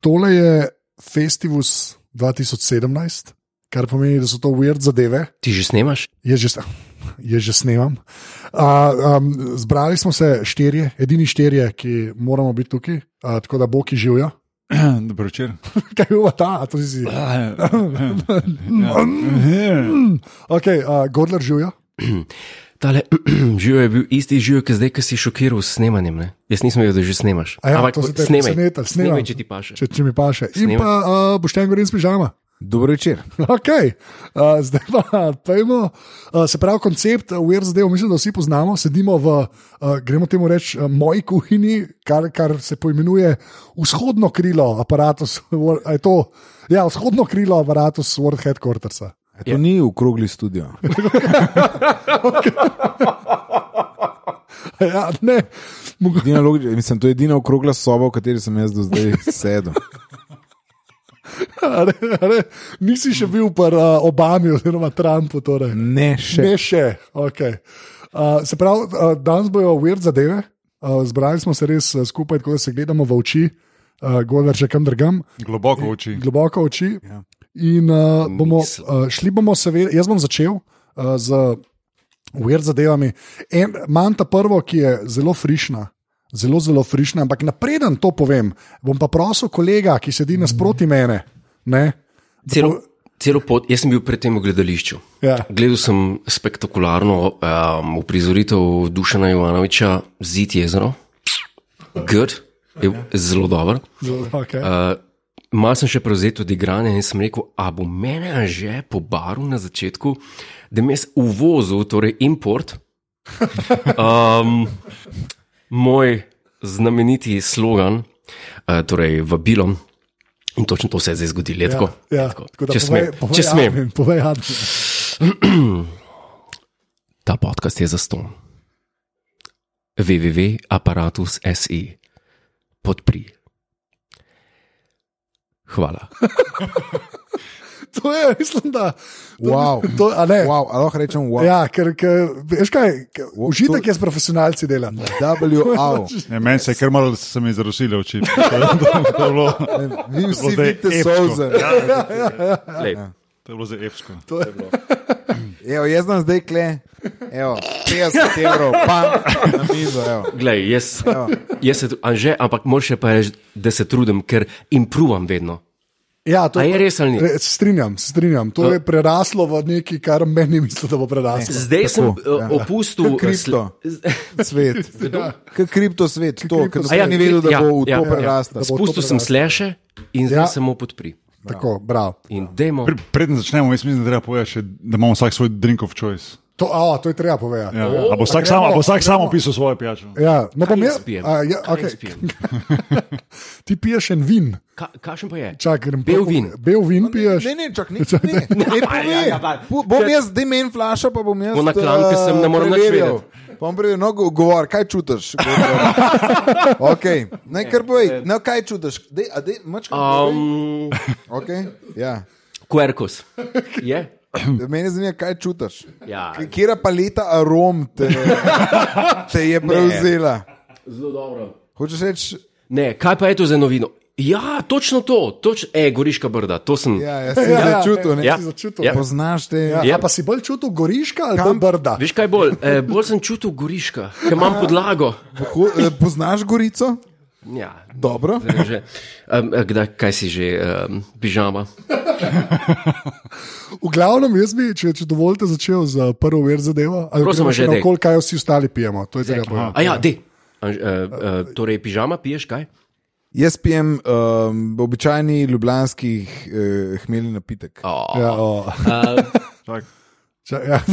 Tole je Festivus 2017, kar pomeni, da so to weird zadeve. Ti že snemaš? Je že, je že snemam. Uh, um, zbrali smo se štirje, edini štirje, ki moramo biti tukaj, uh, tako da boki živijo. Dobro večer. Kaj je bilo ta, A, to si si. Ok, uh, Godler živijo. Tale živo je bil isti živo, ki zdaj, ki si šokiral s snemanjem. Ne? Jaz nisem vedel, da že snemaš. A ja, to se te snemaj, presenetilo, snemam. snemaj, če ti paše. Če, če mi paše. In Snemaj. pa uh, boš ten gorin s pižama. Dobro večer. E, Okay. Uh, zdaj pa pojmo. Uh, se pravi, koncept uh, weird zadev, mislim, da vsi poznamo. Sedimo v, uh, gremo temu reči, uh, moji kuhinji, kar, kar se poimenuje vzhodno krilo aparatus. Wor- a je To, ja, vzhodno krilo aparatus World Headquartersa. E, to ni okrogli studio. Ja, ne, mogo- Edina logi- Mislim, to je edina okrogla soba, v kateri sem jaz do zdaj sedel. a ne, a ne, nisi še bil pri uh, Obami oziroma Trumpu. Torej. Ne še. Ne še. Okay. Uh, se pravi, uh, danes bojo weird zadeve. Uh, zbrali smo se res uh, skupaj, tako da se gledamo v oči, uh, gover že kam drugam, Globoko v oči. globoko v oči. Ja. In uh, bomo, uh, šli bomo, seveda, jaz bom začel uh, z weird zadevami. En, manj ta prvo, ki je zelo frišna. Zelo, zelo frišna, ampak napreden to povem, bom pa prosil kolega, ki sedi nasproti Mhm. mene. Ne? Celo, celo pot, jaz sem bil predtem v gledališču. Ja. Gledal sem spektakularno um, uprizoritev Dušana Jovanoviča, Zid jezero. Good, je zelo dober. Okay. Uh, Mal sem še prevzel tudi igranje in sem rekel, a bo mene že po baru na začetku, da mi je uvozil, torej import, um, moj znameniti slogan, uh, torej vabilom. In točno to se je zdaj zgodilo, je tako. ja, tako. tako da Če povej- smem, povej ja. če smem. Admin, povej, Admin. Ta podcast je za ston. www.apparatus.se podpri. Hvala. To je, mislim, da. To, Wow. To, a ne, wow. Wow, a lahko rečem, wow. Ja, ker, ker, veš kaj, ker Wo- užitek to- je s profesionalci delati. WAU. Ja, meni se je kar malo se mi zarosile oči. To je- to je bilo- Vi to je bilo vsi zdaj vidite epsko. solze. Ja, ja. Lej, To je bilo zdaj epsko. Evo, jaz sem zdaj kle. Evo, 50 evrov, pa na mizo. Evo. Glej, jaz, jaz se, tru- Anže, ampak moraš še pa reči, da se trudim, ker improvam vedno. Ja, to A je res ali ni? Re, strinjam, se strinjam. To je preraslo v nekaj, kar meni misli, da bo preraslo. Zdaj Tako, sem Tako, ja. ja. opustil eh, Kot kripto. Svet. K kripto svet, to, ker kriptosvet. sem ni vedel, da Ja, bo v ja, to ja. preraslo. bo to Spustil sem preraslo. sleše in Ja. zdaj ja. samo podpri. Tako, bravo. In dajmo. Pre- Preden začnemo, jaz mislim, da treba povedati, še, da imamo vsak svoj drink of choice. To, a, to je treba povedati. Ja. A bo vsak, sam, a bo vsak sam opisal svojo pijačo? Ja, no, bom jaz. spijem? a, Ja, Kaj okay. jaz pijem? Ti piješ en vin, Ka, kašen pa je? čak, grem Bel po- vin. Bel vin piješ. Ne, ne, čak, ne, ne. ne Ja, ja, pove. pa- Bu- Bom jaz demen flaša, pa bom jaz. Bo na klanke eh, sem, ne morem nič preverjal. vedeti. Bom preveril, no, go- govor, kaj čutiš? okay. Ne, kar povej, no, kaj čutiš? Dej, a dej, mačka, um. Um, okay? ja. Quercus. Je? Mene zanima, kaj čutiš. Ja. K- Kera paleta arom te, te je prevzela? Zelo dobro. Hočeš reči, Ne, kaj pa je to za novino? Ja, točno to, toč, e, Goriška brda, to sem. ja, jaz sem ja, začutil, ne? Ja. si začutil. Ja. ne. Poznaš te. Ja, Ja. a Pa si bolj čutil goriška ali bolj brda? Veš kaj bolj? E, bolj sem čutil Goriška, ker imam podlago. Ho, eh, poznaš Gorico? Ja, Dobro. zdaj že. Um, kdaj, kaj si že, um, pižama? V glavnem, jaz bi, če, če dovolite, začel z prvo ver zadevo. Ali Prosim, gremo še že, dej. naokol, kaj vsi ostali pijemo. To je treba povedati. A ja, de. Uh, uh, torej, pižama piješ kaj? Jaz pijem um, običajni ljubljanski uh, hmelj napitek. Oh. Ja, o. Čak. Eh, Ča, ja,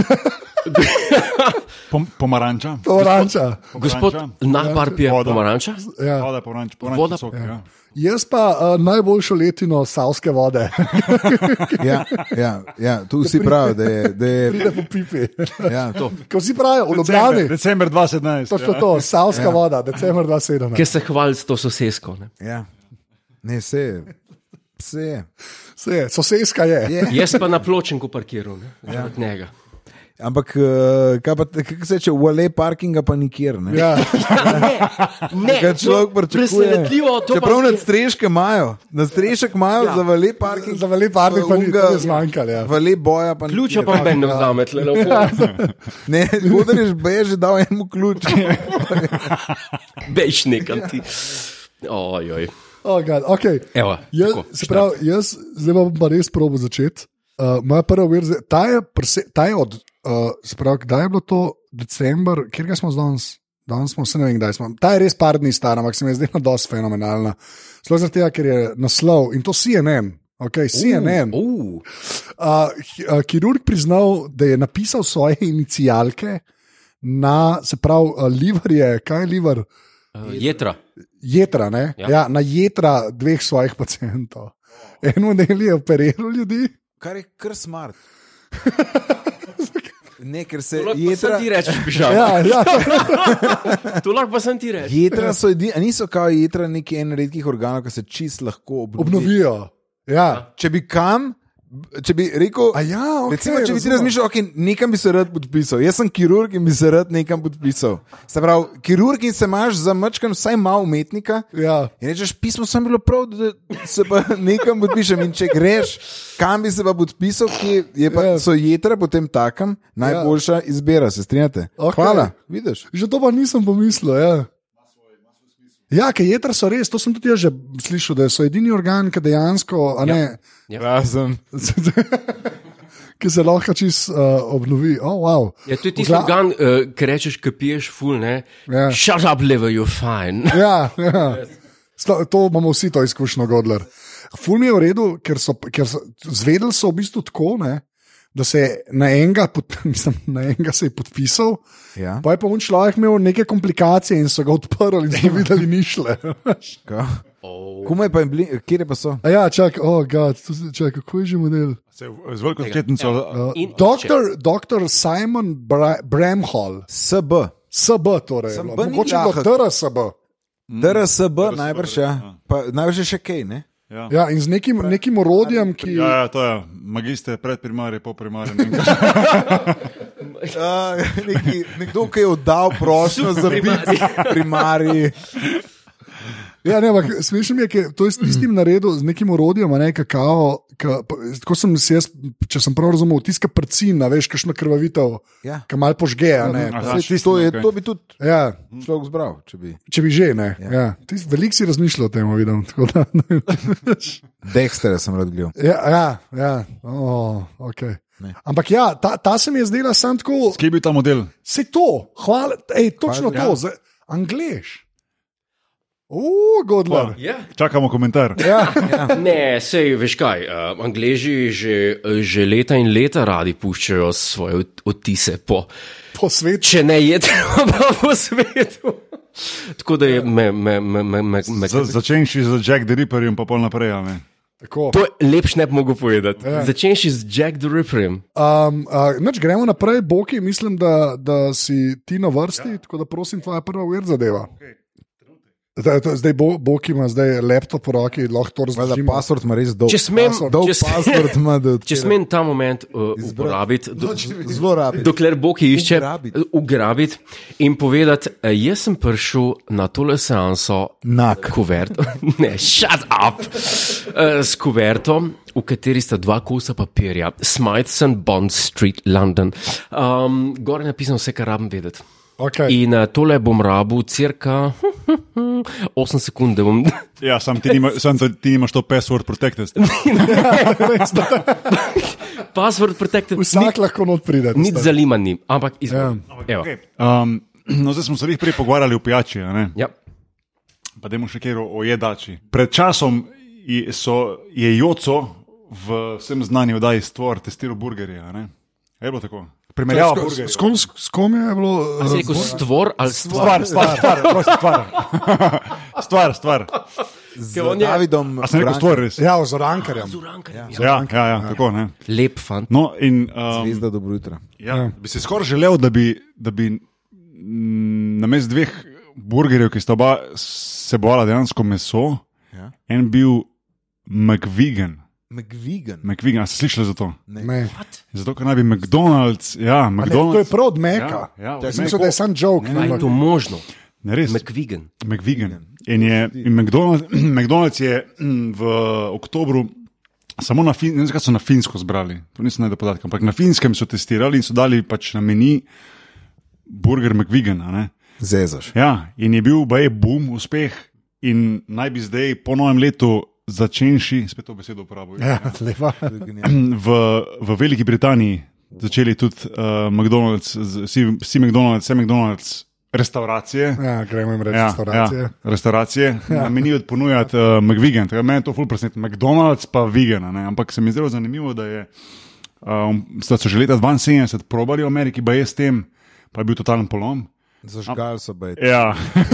Pom, pomaranča. oranča. Gospod Pomaranča. Nahbar pije Voda. pomaranča? Ja. Voda, pomaranč, Voda. pomaranč, sok. Ja. Jaz pa uh, najboljšo letino savske vode, Ja, ja, ja, tu vsi pravijo, da je. Da je da po pipi. ja. Ko vsi pravijo, v December, Ljubljani, december 2017. točno to, savska ja. voda, decembr 2017. Ker se hvali s to sosesko. Ne? Ja. Ne, vse je. Vse je. Se je, soseska je. Je. Jaz pa na pločenku parkiram, ne? od njega. Ampak, eh, kaj pa, kako se reče, vale parkinga pa nikjer. Ne? Ja, Ne, Kaj človek pričakuje? Presenetljivo, to Čeprav pa nad streške imajo, na strešek imajo ja. za vale parking. za velik parnik pa ni Unga- ga zmanjkalo. Ja. Vale boja pa ključa nikjer. pa meni ne vzame, tle no, lepo. Ne, Gudriš je že dal enemu ključ. Bejš nekam ti. Ojoj. Oh, God, okay. Evo, jaz, tako, se pravi, jaz zdaj bom pa res probo začeti. Uh, moja prva verza, ta je, prese, ta je od, uh, se pravi, kdaj je bilo to, december, kjer ga smo danes, danes smo vse ne vem, kdaj smo. Ta je res par dni stara, ampak se mi je zdela dosti fenomenalna. Sploh zaradi tega, ker je naslov in to CNN. Okay, CNN. Uh, Uh, uh, kirurg priznal, da je napisal svoje inicijalke na, se pravi, uh, liver je, kaj je liver? Uh, jetra. jedra, ne? Ja. ja. Ja, na jedra dveh svojih pacijentov. Eno del je operiral ljudi, Kar je kar smart. Ne, ker se To lahko jedra, sem ti rečeš, pižam. ja, ja, To lahko pa sem ti rečeš. jedra so edini, a niso kao jedra neki en redkih organov, ki se čist lahko obnovi. obnovijo. Ja. Če bi kam, če bi rekel, A ja, okay, recimo, če bi ti razumem. razmišljal, okay, nekam bi se rad podpisal. Jaz sem kirurg in bi se rad nekam podpisal. Se pravi, kirurg in se imaš za mačkan vsaj malo umetnika. Ja. In rečeš, pismo sem bilo prav, da se pa nekam podpišem. In če greš, kam bi se pa podpisal, ki je pa, Ja. so jedra potem takem najboljša izbira, se strinjate. Okej. Hvala, vidiš. Že to pa nisem pomislil. Ja. Ja, ker jedra so res, to sem tudi jaz že slišal, da so edini organ, ki dejansko, a ne, Ja. Razen. ki se lahko čist uh, obnovi. Oh, wow. Ja, to je tisti Gla- organ, uh, ki rečeš, ki piješ ful, ne? Ja. Shut up, liver, you're fine. Ja, ja. Sto- To imamo vsi to izkušnjo, Godler. Ful mi je v redu, ker so, ker so zvedeli so v bistvu tako, ne, da se je na enega, pod, mislim, na enega se je podpisal, Ja, pa je pa un človek imel neke komplikacije in so ga odprli in so videli nišle. ka. Kumaj pa je bili, kje pa so? A ja, čak, oh, God, to se- čak, kako je že model? Se v- Z veliko skretnico. Uh, In doktor, doktor Simon Bra Bramhall, SB. SB, torej, Sem B ni mogoče do lahek. TRSB. DRSB, najbrž, ja. Pa, najbrž je še kaj, ne? Ja. Ja, in z nekim, nekim orodjem, ki. Ja, ja, to je magister, predprimarij, poprimarij. ne vem, kaj. Uh, neki, nekdo, ki je oddal prošnjo za biti primarij. Ja, ne, ampak smešno mi je, ker to je Mhm. s tistim naredil, z nekim urodjem, a ne kakao. Ka, pa- tako sem si jaz, če sem prav razumel, tiska prcina, veš, kakšno krvavitev, Ja. Mhm. ki mal požge. a Ne, Ja, Saj tisto, To, je, okej. to bi tudi ja, človek zbral, če bi. če bi že, ne. Ja. Ti si- Veliko si razmišljal o tem, vidim. tako Da, ne. Dexter sem rad gledal. ja, ja, ja. Oh, okay. Ampak ja, ta, ta se mi je zdela sam tako, Kje je bil ta model? se to, hvala, ej, točno Hvala, ja. to, za angliš. O, Godler. Ja. Čakamo komentar. Ne, sej veš kaj. Uh, Angleži že, eh, že leta in leta radi puščajo svoje ot- odtise po, Po svetu. če ne je treba po svetu. Tako da je me, me, me, me, me, me Za- Začenši z Jack the Ripperjem, pa pol naprej. a ne. Tako. To je lepš ne bi mogel povedati. Ja. Začenš z Jack the Ripperjem. Um, uh, nač, gremo naprej, Boki, mislim, da, da si ti na vrsti, ja. tako da prosim, tvoja prva ured zadeva. Zdaj, to- zdaj bo, Boki ima zdaj laptop v roki, lahko to Hvala, razloži. password ima res dolg. Če smem- dolg če smem- password ima, da Če smem ta moment uh, uporabiti, No, No, do, zelo rabi. dokler Boki išče, Ugrabiti. ugrabiti in povedati, eh, jaz sem prišel na tole seanso Nak. kuverto, ne, shut up, Eh, s kuverto, v kateri sta dva kosa papirja, Smithson, Bond Street, London. Um, gor je napisano vse, kar rabim vedeti. Okay. In eh, tole bom rabu, cirka 8 sekund, da bom. Ja, sam ti, nima, sam to- ti nimaš to password protected. Password protected. Vsak lahko not pride. Nič tisto. zanima ni, ampak izvem. Ja. Okay. Um, no, zdaj smo se jih prej pogovarjali o pijači, a ne? Ja. pa dajmo še kjer o o jedači. Pred časom je, so, je Joco v vsem znani oddaji stvar testiral burgerje. a ne. A Je bilo tako? Primerjava Sko- burgerje. Ja, s kom- S kom je bilo? eh, Si rekel stvor ali stvar? Stvar, stvar, stvar, prosim, stvar. Stvar, stvar. Z Ker on je- Davidom. A sem rekel Brankom. stvar res? Ja, z orankarjem. Ja, ja, ja tako ne. Lep fant. No, in, um, Zvezda, dobro jutro. Ja, bi si skoraj želel, da bi, da bi mm, namesto dveh burgerjev, ki sta oba sebovala dejansko meso, Ja. en bil McVegan. McVigan. McVigan, a ste slišali za to? Ne. Zato, ker naj bi McDonald's, ja, Ne, to je McDonald's. prav od Meka. Ja, ja, od Jaz Maca. mislim, da je sam joke. Kaj je to možno? Ne, res. McVigan. McVigan. In, je, in McDonald's, McDonald's je mm, v oktobru. Samo na, fin, ne vem, zakaj so na Finsko zbrali, to nisem najdel podatka, ampak na Finskem so testirali in so dali pač na meni burger McVigan. a ne. Zezaš. Ja, in je bil baje boom, uspeh, in naj bi zdaj po novem letu začenši, spet to besedo uporabljam, Ja, lepa. v, v Veliki Britaniji začeli tudi uh, McDonald's, z- vsi, vsi McDonald's, vse McDonald's, restauracije. Ja, gremo jim reči, Ja, restauracije. Ja, restauracije ja. na meniju ponujati uh, McVigan. Tako da Meni je to ful presenečen. McDonald's pa vegan, a ne? ampak se mi je zelo zanimivo, da, je, um, da so že leta 72 probali v Ameriki, pa je s tem, pa je bil totalen polom. Zažgal so baj. Ja.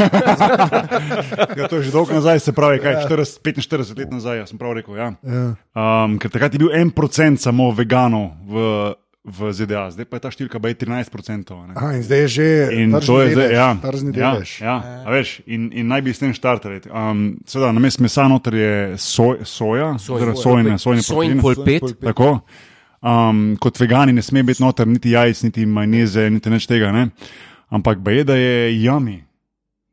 ja, to je že dolgo nazaj, se pravi, kaj, 40, 45 let nazaj, ja, sem prav rekel. Ja. Um, ker takrat je bil en procent samo veganov v, v ZDA, zdaj pa je ta številka baje 13 procentov. Aha, in zdaj je že In tržni to je zdaj, delež, ja, tržni ja, delež. ja, a veš, in, in naj bi s tem štartali. Um, Seveda, na mestu mesa noter je soj, soja, oziroma sojne, sojne Sojn proteine. polpet. Tako. Um, kot vegani ne sme biti noter niti jajc, niti majneze, niti nič tega. Ne? Ampak baje, da je jami.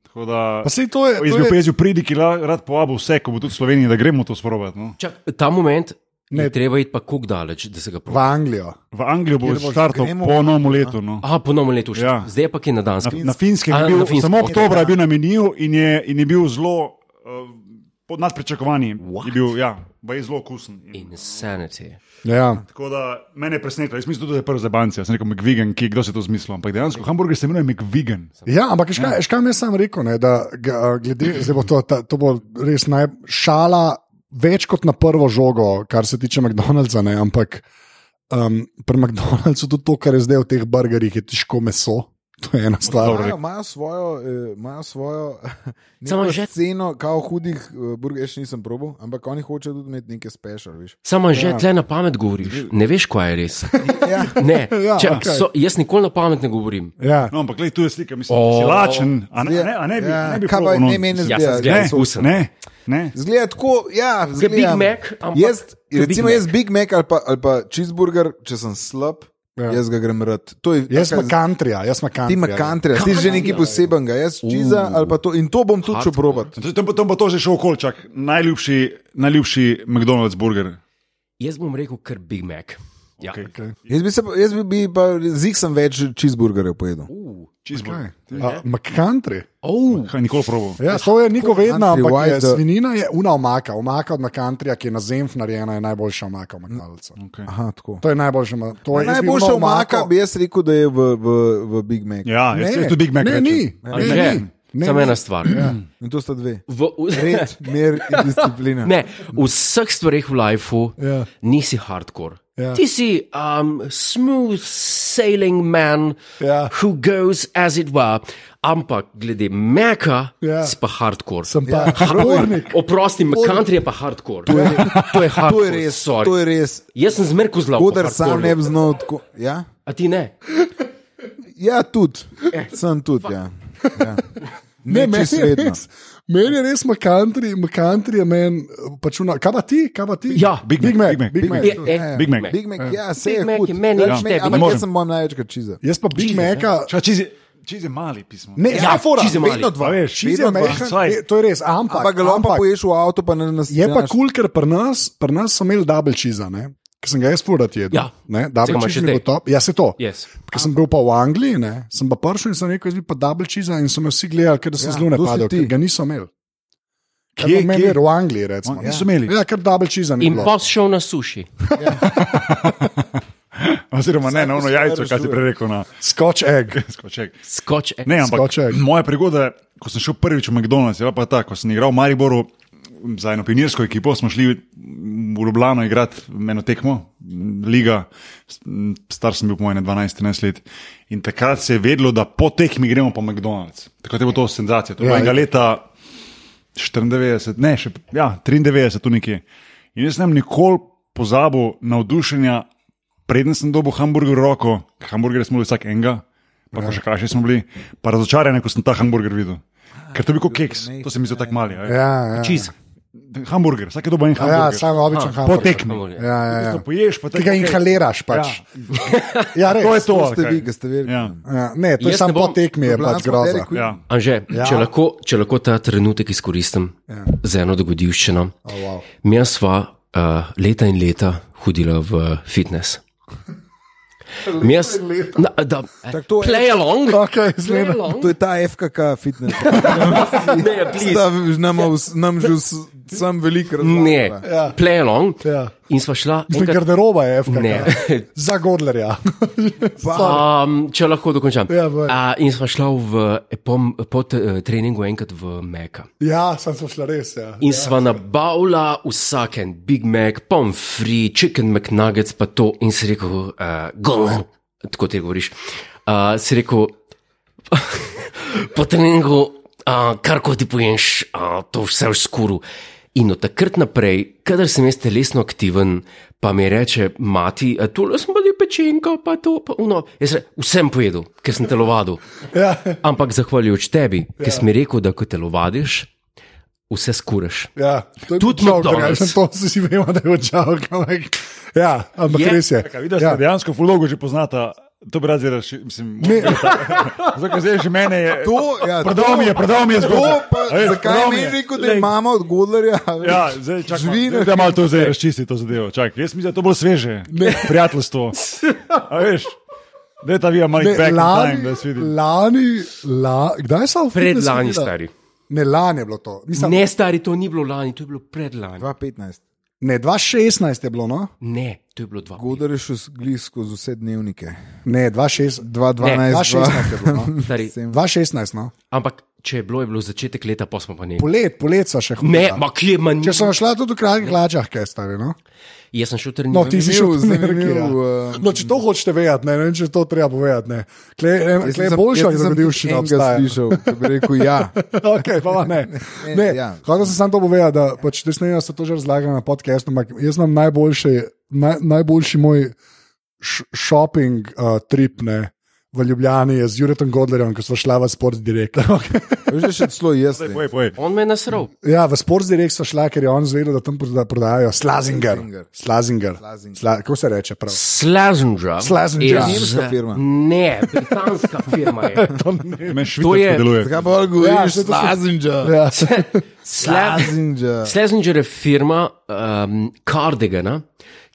Tako da. Pa sej to je. Jaz To bi je opazil pridiki, rad povabil vse, ko bo tudi v Sloveniji, da gremo to sprobati. No. Čak, ta moment ne. Ne. je treba iti pa kako daleč, da se ga v proba. Anglijo. V Anglijo bo Kjer boš, štartal gremo? po novem letu. No. Aha, ponovno leto še. Ja. Ja. Zdaj je pa je na Danskem. Na, na finskem A, je na bil, na Finskem, samo okej. oktober je bil na meniju in je, in je bil zelo uh, nad pričakovanji. What? Je bil, ja, pa je zelo okusen. In, Insanity. Ja. tako da mene je presenetilo, jaz mislim, tudi, da je prvi za banci, jaz sem rekel McVigan, ki kdo se je to zmislil, ampak dejansko hamburger se imenuje McVigan. Ja, ampak veš kaj, veš, kaj mi je sam rekel, ne, da ga, glede, zdaj bo to, ta, to bo res najšala, več kot na prvo žogo, kar se tiče McDonald'sa. Ne, ampak um, pri McDonald'su tudi to, kar je zdaj v teh burgerjih, je težko meso. To je ena stvar. Imajo, Dobro. Ja, imajo svojo, eh, imajo svojo Samo neko že- sceno, kao hudih eh, burgerjev, še nisem probil, ampak oni hočejo tudi imeti neke special, veš. Samo že ja. tle na pamet govoriš, ne veš, kaj je res. Ja. Ne, Ja, ja, Čak, okej. okay. so, jaz nikoli na pamet ne govorim. Ja. No, ampak gledaj, tu je slika, mislim, O. oh, si lačen, a ne, a ne, a ne bi, Ja, ne bi kaj pa probal, no. ne meni Ja, zgleda. sem Ne, zgleda. Okusen. ne, ne. Zgleda tako, ja, Kot Big zgleda- Mac, ampak Jaz, kot Big recimo, Mac. jaz Big Mac ali pa, ali pa cheeseburger, če sem slab, Ja. ja. jaz ga grem rad. To je Jaz taka sem country, jaz ja. sem Ti country. imaš country, ti si že ja. nekaj posebenega, jaz čiza Uh. ali pa to. In to bom tudi šel probat. To- Tam bo, tam bo to že šel okolčak, najljubši, najljubši McDonald's burger. Jaz bom rekel, ker Big Mac. Ja. Okay. Jaz bi, se, pa- jaz bi, bi pa zig sem več cheeseburgerjev pojedel. Uh. Cheeseburger. McCountry. Oh. Kaj nikoli probal? Ja, to je niko vedno, Country ampak je, white, da- svinina je una omaka. Omaka od McCountryja, ki je na zemlji narejena, je najboljša omaka v McDonald'su. Okay. Aha, tako. To je najboljša omaka. To je jaz bi Najboljša ono omaka omako- bi jaz rekel, da je v, v, v Big Mac. Ja, jaz sem Ne, tudi Big Mac. ne, rečem. ni. Ne, Ne, ne, ni. Ne, Samo ni. ena stvar. Ja. In to sta dve. V, v, Red, mir in disciplina. ne, v vseh stvareh v lifeu Ja. ja. nisi hardcore. Ja. Ja. Ti si um, smooth sailing man, Ja. who goes as it were. Ampak glede meka, Ja. ja. si pa hardcore. Sem pa ja, špornik. Oprosti, country je pa hardcore. To je, to je hardcore. To je res, sorry. to je res. Jaz sem zmerko zelo Kodar sam ne bi znal tako. Ja, A ti ne? ja tudi. Sem tudi, ja. ja. Ne, Ne, meni čisto je vedno. res, meni je res McCountry, McCountry je meni eh, pačuna. Kaj pa ti, kaj pa ti? Ja. Big Mac. Big Mac, Big Mac. Big Mac. Je, eh, Big Mac. Big Mac, ja, se Big je Mac hud. je meni nič tebi. Ampak Ne jaz morem. sem moj največkrat čiza. Jaz pa Big Maca. Ča, čiz, je- čiz je mali pismo. Ne, ja, Ja, fora, cheese je mali. vedno dva. A veš, Cheese je vedno dva. mehko, Saj. to je res, ampak, Ampak ga lompa ampak poješ v avto, pa ne nas je Ja, pa kul, cool, ker pri nas, pri nas so imeli double cheese, ne? ker sem ga jaz furat jedel. Ja. ne, Saj double ga imaš cheese še mi bo zdaj. top. Ja, se to. Yes. Ker sem bil pa v Angliji, ne? sem pa prišel in sem rekel, jaz bi pa double cheese in so me vsi gledali, ker sem Ja, ja, zelo to si napadel, ti. ker ga niso imeli. Kje, Kje, kje? kje? V Angliji, recimo. No, Oni niso imeli. Ja, ker double cheese ni In bilo. pa si šel na suši. Oziroma, ne, na ono Vsak se jajco, kaj si rešuje. prej rekel. Na, Scotch egg. skoček. Skoč. eh. Ne, ampak Skoček. moja pregoda, ko sem šel prvič v McDonald's, je bila pa ta, ko sem igral v Mariboru za eno pionirsko ekipo, smo šli v Ljubljano igrati eno tekmo, liga, star sem bil po mojem 12-13 let. In takrat se je vedelo, da po tekmi gremo po McDonald's. Takrat je bilo to senzacija. To je Ja, bilo enega je. leta 94, ne, še, ja, 93, tu nekje. In jaz sem nikoli pozabil navdušenja, preden sem dobil hamburger v roko, hamburger smo bili vsak enega, pa, pa še krajši smo bili, pa razočarani, ko sem ta hamburger videl. Ker to je bil kot keks, to se mi zdi tako mali. a je. Ja, ja. Cheese. Hamburger, vsak je dobil en Ja, hamburger. samo običajen Ah. Po hamburger. tekmi. Hamburger. Ja, ja, Tisto ja. Poješ, pa Ti ga tako, okej. inhaliraš pač. Ja, res. To je to. To ste ali vi, kaj? ki ste vedeli. Ja. Ja, ne, to je Jaz ne samo bom- po tekmi, je pač groza. Ja. Anže, ja. če, lahko, če lahko ta trenutek izkoristim ja. za eno dogodivščino. Oh, wow. Mi smo uh, leta in leta hodili v fitness. Mi smo Tako to je- play along. Okej, play zgleda. along. To je ta FKK fitness. Ne, ja, please. Sta nam, vs- nam že vs- sam veliko razumem. Ne, Ja. play along. Ja. In sva šla. Mislim, enkrat- garderoba je FK. Ja. Ne. Za Godlerja. Um, če lahko dokončam. Ja, boj. A, in sva šla v, eh, po, po t- eh, treningu enkrat v Meka. ja, sem se šla res. Ja. In sva nabavila vsak en Big Mac, pommes frites, chicken McNuggets, pa to. In si rekel, uh, gol, tako ti govoriš. Uh, si rekel, po treningu, uh, kar ko ti poješ, uh, to vse v skuru. In od takrat naprej, kadar sem jaz telesno aktiven, pa mi reče mati, tu sem pa ti pečenko, pa to, pa uno. Jaz rečem, vsem pojedel, ker sem telovadil. Ja. Ampak zahvaljujoč tebi, ja. ki si mi rekel, da ko telovadiš, vse skuraš. Ja, to je Tudi joke, McDonald's. ja, sem to si si vemo, da je odžal. Ja, ampak Je. je. res je. Kaj, Vidiš, ja. da dejansko fulogo že poznata. To bi rad zdaj rešil. mislim, Zato, ker zdaj že mene je. To, ja, Prodal mi je, prodal mi je To, zgodbo. pa, A veš, zakaj prodal mi mi je je. rekel, da je mama od Godlerja? a veš? Ja, zdaj čakam. Živi na- Da malo to zdaj razčisti, to zadevo. Čak, jaz mislim, da je to bolj sveže. Prijateljstvo. A veš, da je ta vija malo Ne, back in time, lani, da si videl. lani, la, kdaj sem Pred lani, stari. Ne, lani je bilo to. Mislim, ne. Ne, stari, to ni bilo lani, to je bilo predlani. 2015. Mm. ne, 2016 je bilo, no? Ne, to je bilo dva. Godler je šel glis skozi vse dnevnike. Ne, 2016. 2016 2012. je bilo. No? Stari. 2016, no. Ampak če je bilo, je bilo začetek leta, pa smo pa ne. Polet, polet so še hodili. Ne, ma kje manj. Ja. Če sem šla tudi v kratkih hlačah, kaj stari, no? Jaz sem šel No, trenirati. ti si šel Zanimiv, z nekaj. zanimiv, Ja. eh, No, če to hočeš vedeti, ne, ne vem, če to treba povedati. ne. Kle Jaz je nisem- boljša, da jaz nisem bi šel enega slišal, ki bi rekel ja. okay, pa pa ne. ne ja. Hotel sem samo to povedati, da pač te sneje so to že razlagali na podkastu, ampak jaz imam najboljši, naj, najboljši moj š- shopping uh, trip ne, v Ljubljani je z Juretom Godlerjem, ko smo šla v Sports Direct. Okay. Veš, da še celo jaz. ne. Poj, poj. On me je nasral. ja, v Sports Direct so šla, ker je on zvedel, da tam proda- prodajajo slazinger. Slazinger. Slazinger. Slazinger. Sla, kako se reče prav? Slazenža. Slazenža. Nemška firma. Ne, britanska firma je. Meni To je- švicarsko deluje. Zakaj pa govoriš? saj to so- Slazinja. Ja. Sla... Slazinja. Slazenžer je firma um, Cardigana,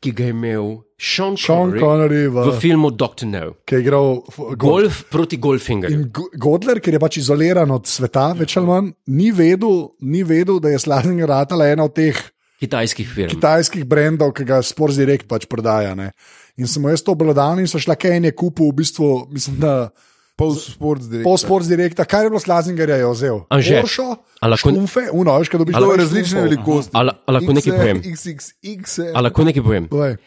ki ga je imel Sean Sean Connery, Connery v, v filmu Doctor No. ki je igral f- golf. Golf proti golfingerju. In Go- Godler, ker je pač izoliran od sveta, več ali manj, ni vedel, ni vedel da je Slavinger ratala ena od teh Kitajskih firm. tajskih brendov, ki ga Sports Direct pač prodaja. Ne. In sem mu jaz to obladal in so šla kaj en je kupil, v bistvu, mislim, da Pol sports direktor. po Sports Directa, kar je bilo Slavingerja, je vzel. Anže, Oršo, a lahko- šumfe, uno, veš, kaj dobiš. To dobiš je različne šumfov. velikosti. A la- a lahko nekaj XL, povem? XXX. A lahko nekaj povem? Povej.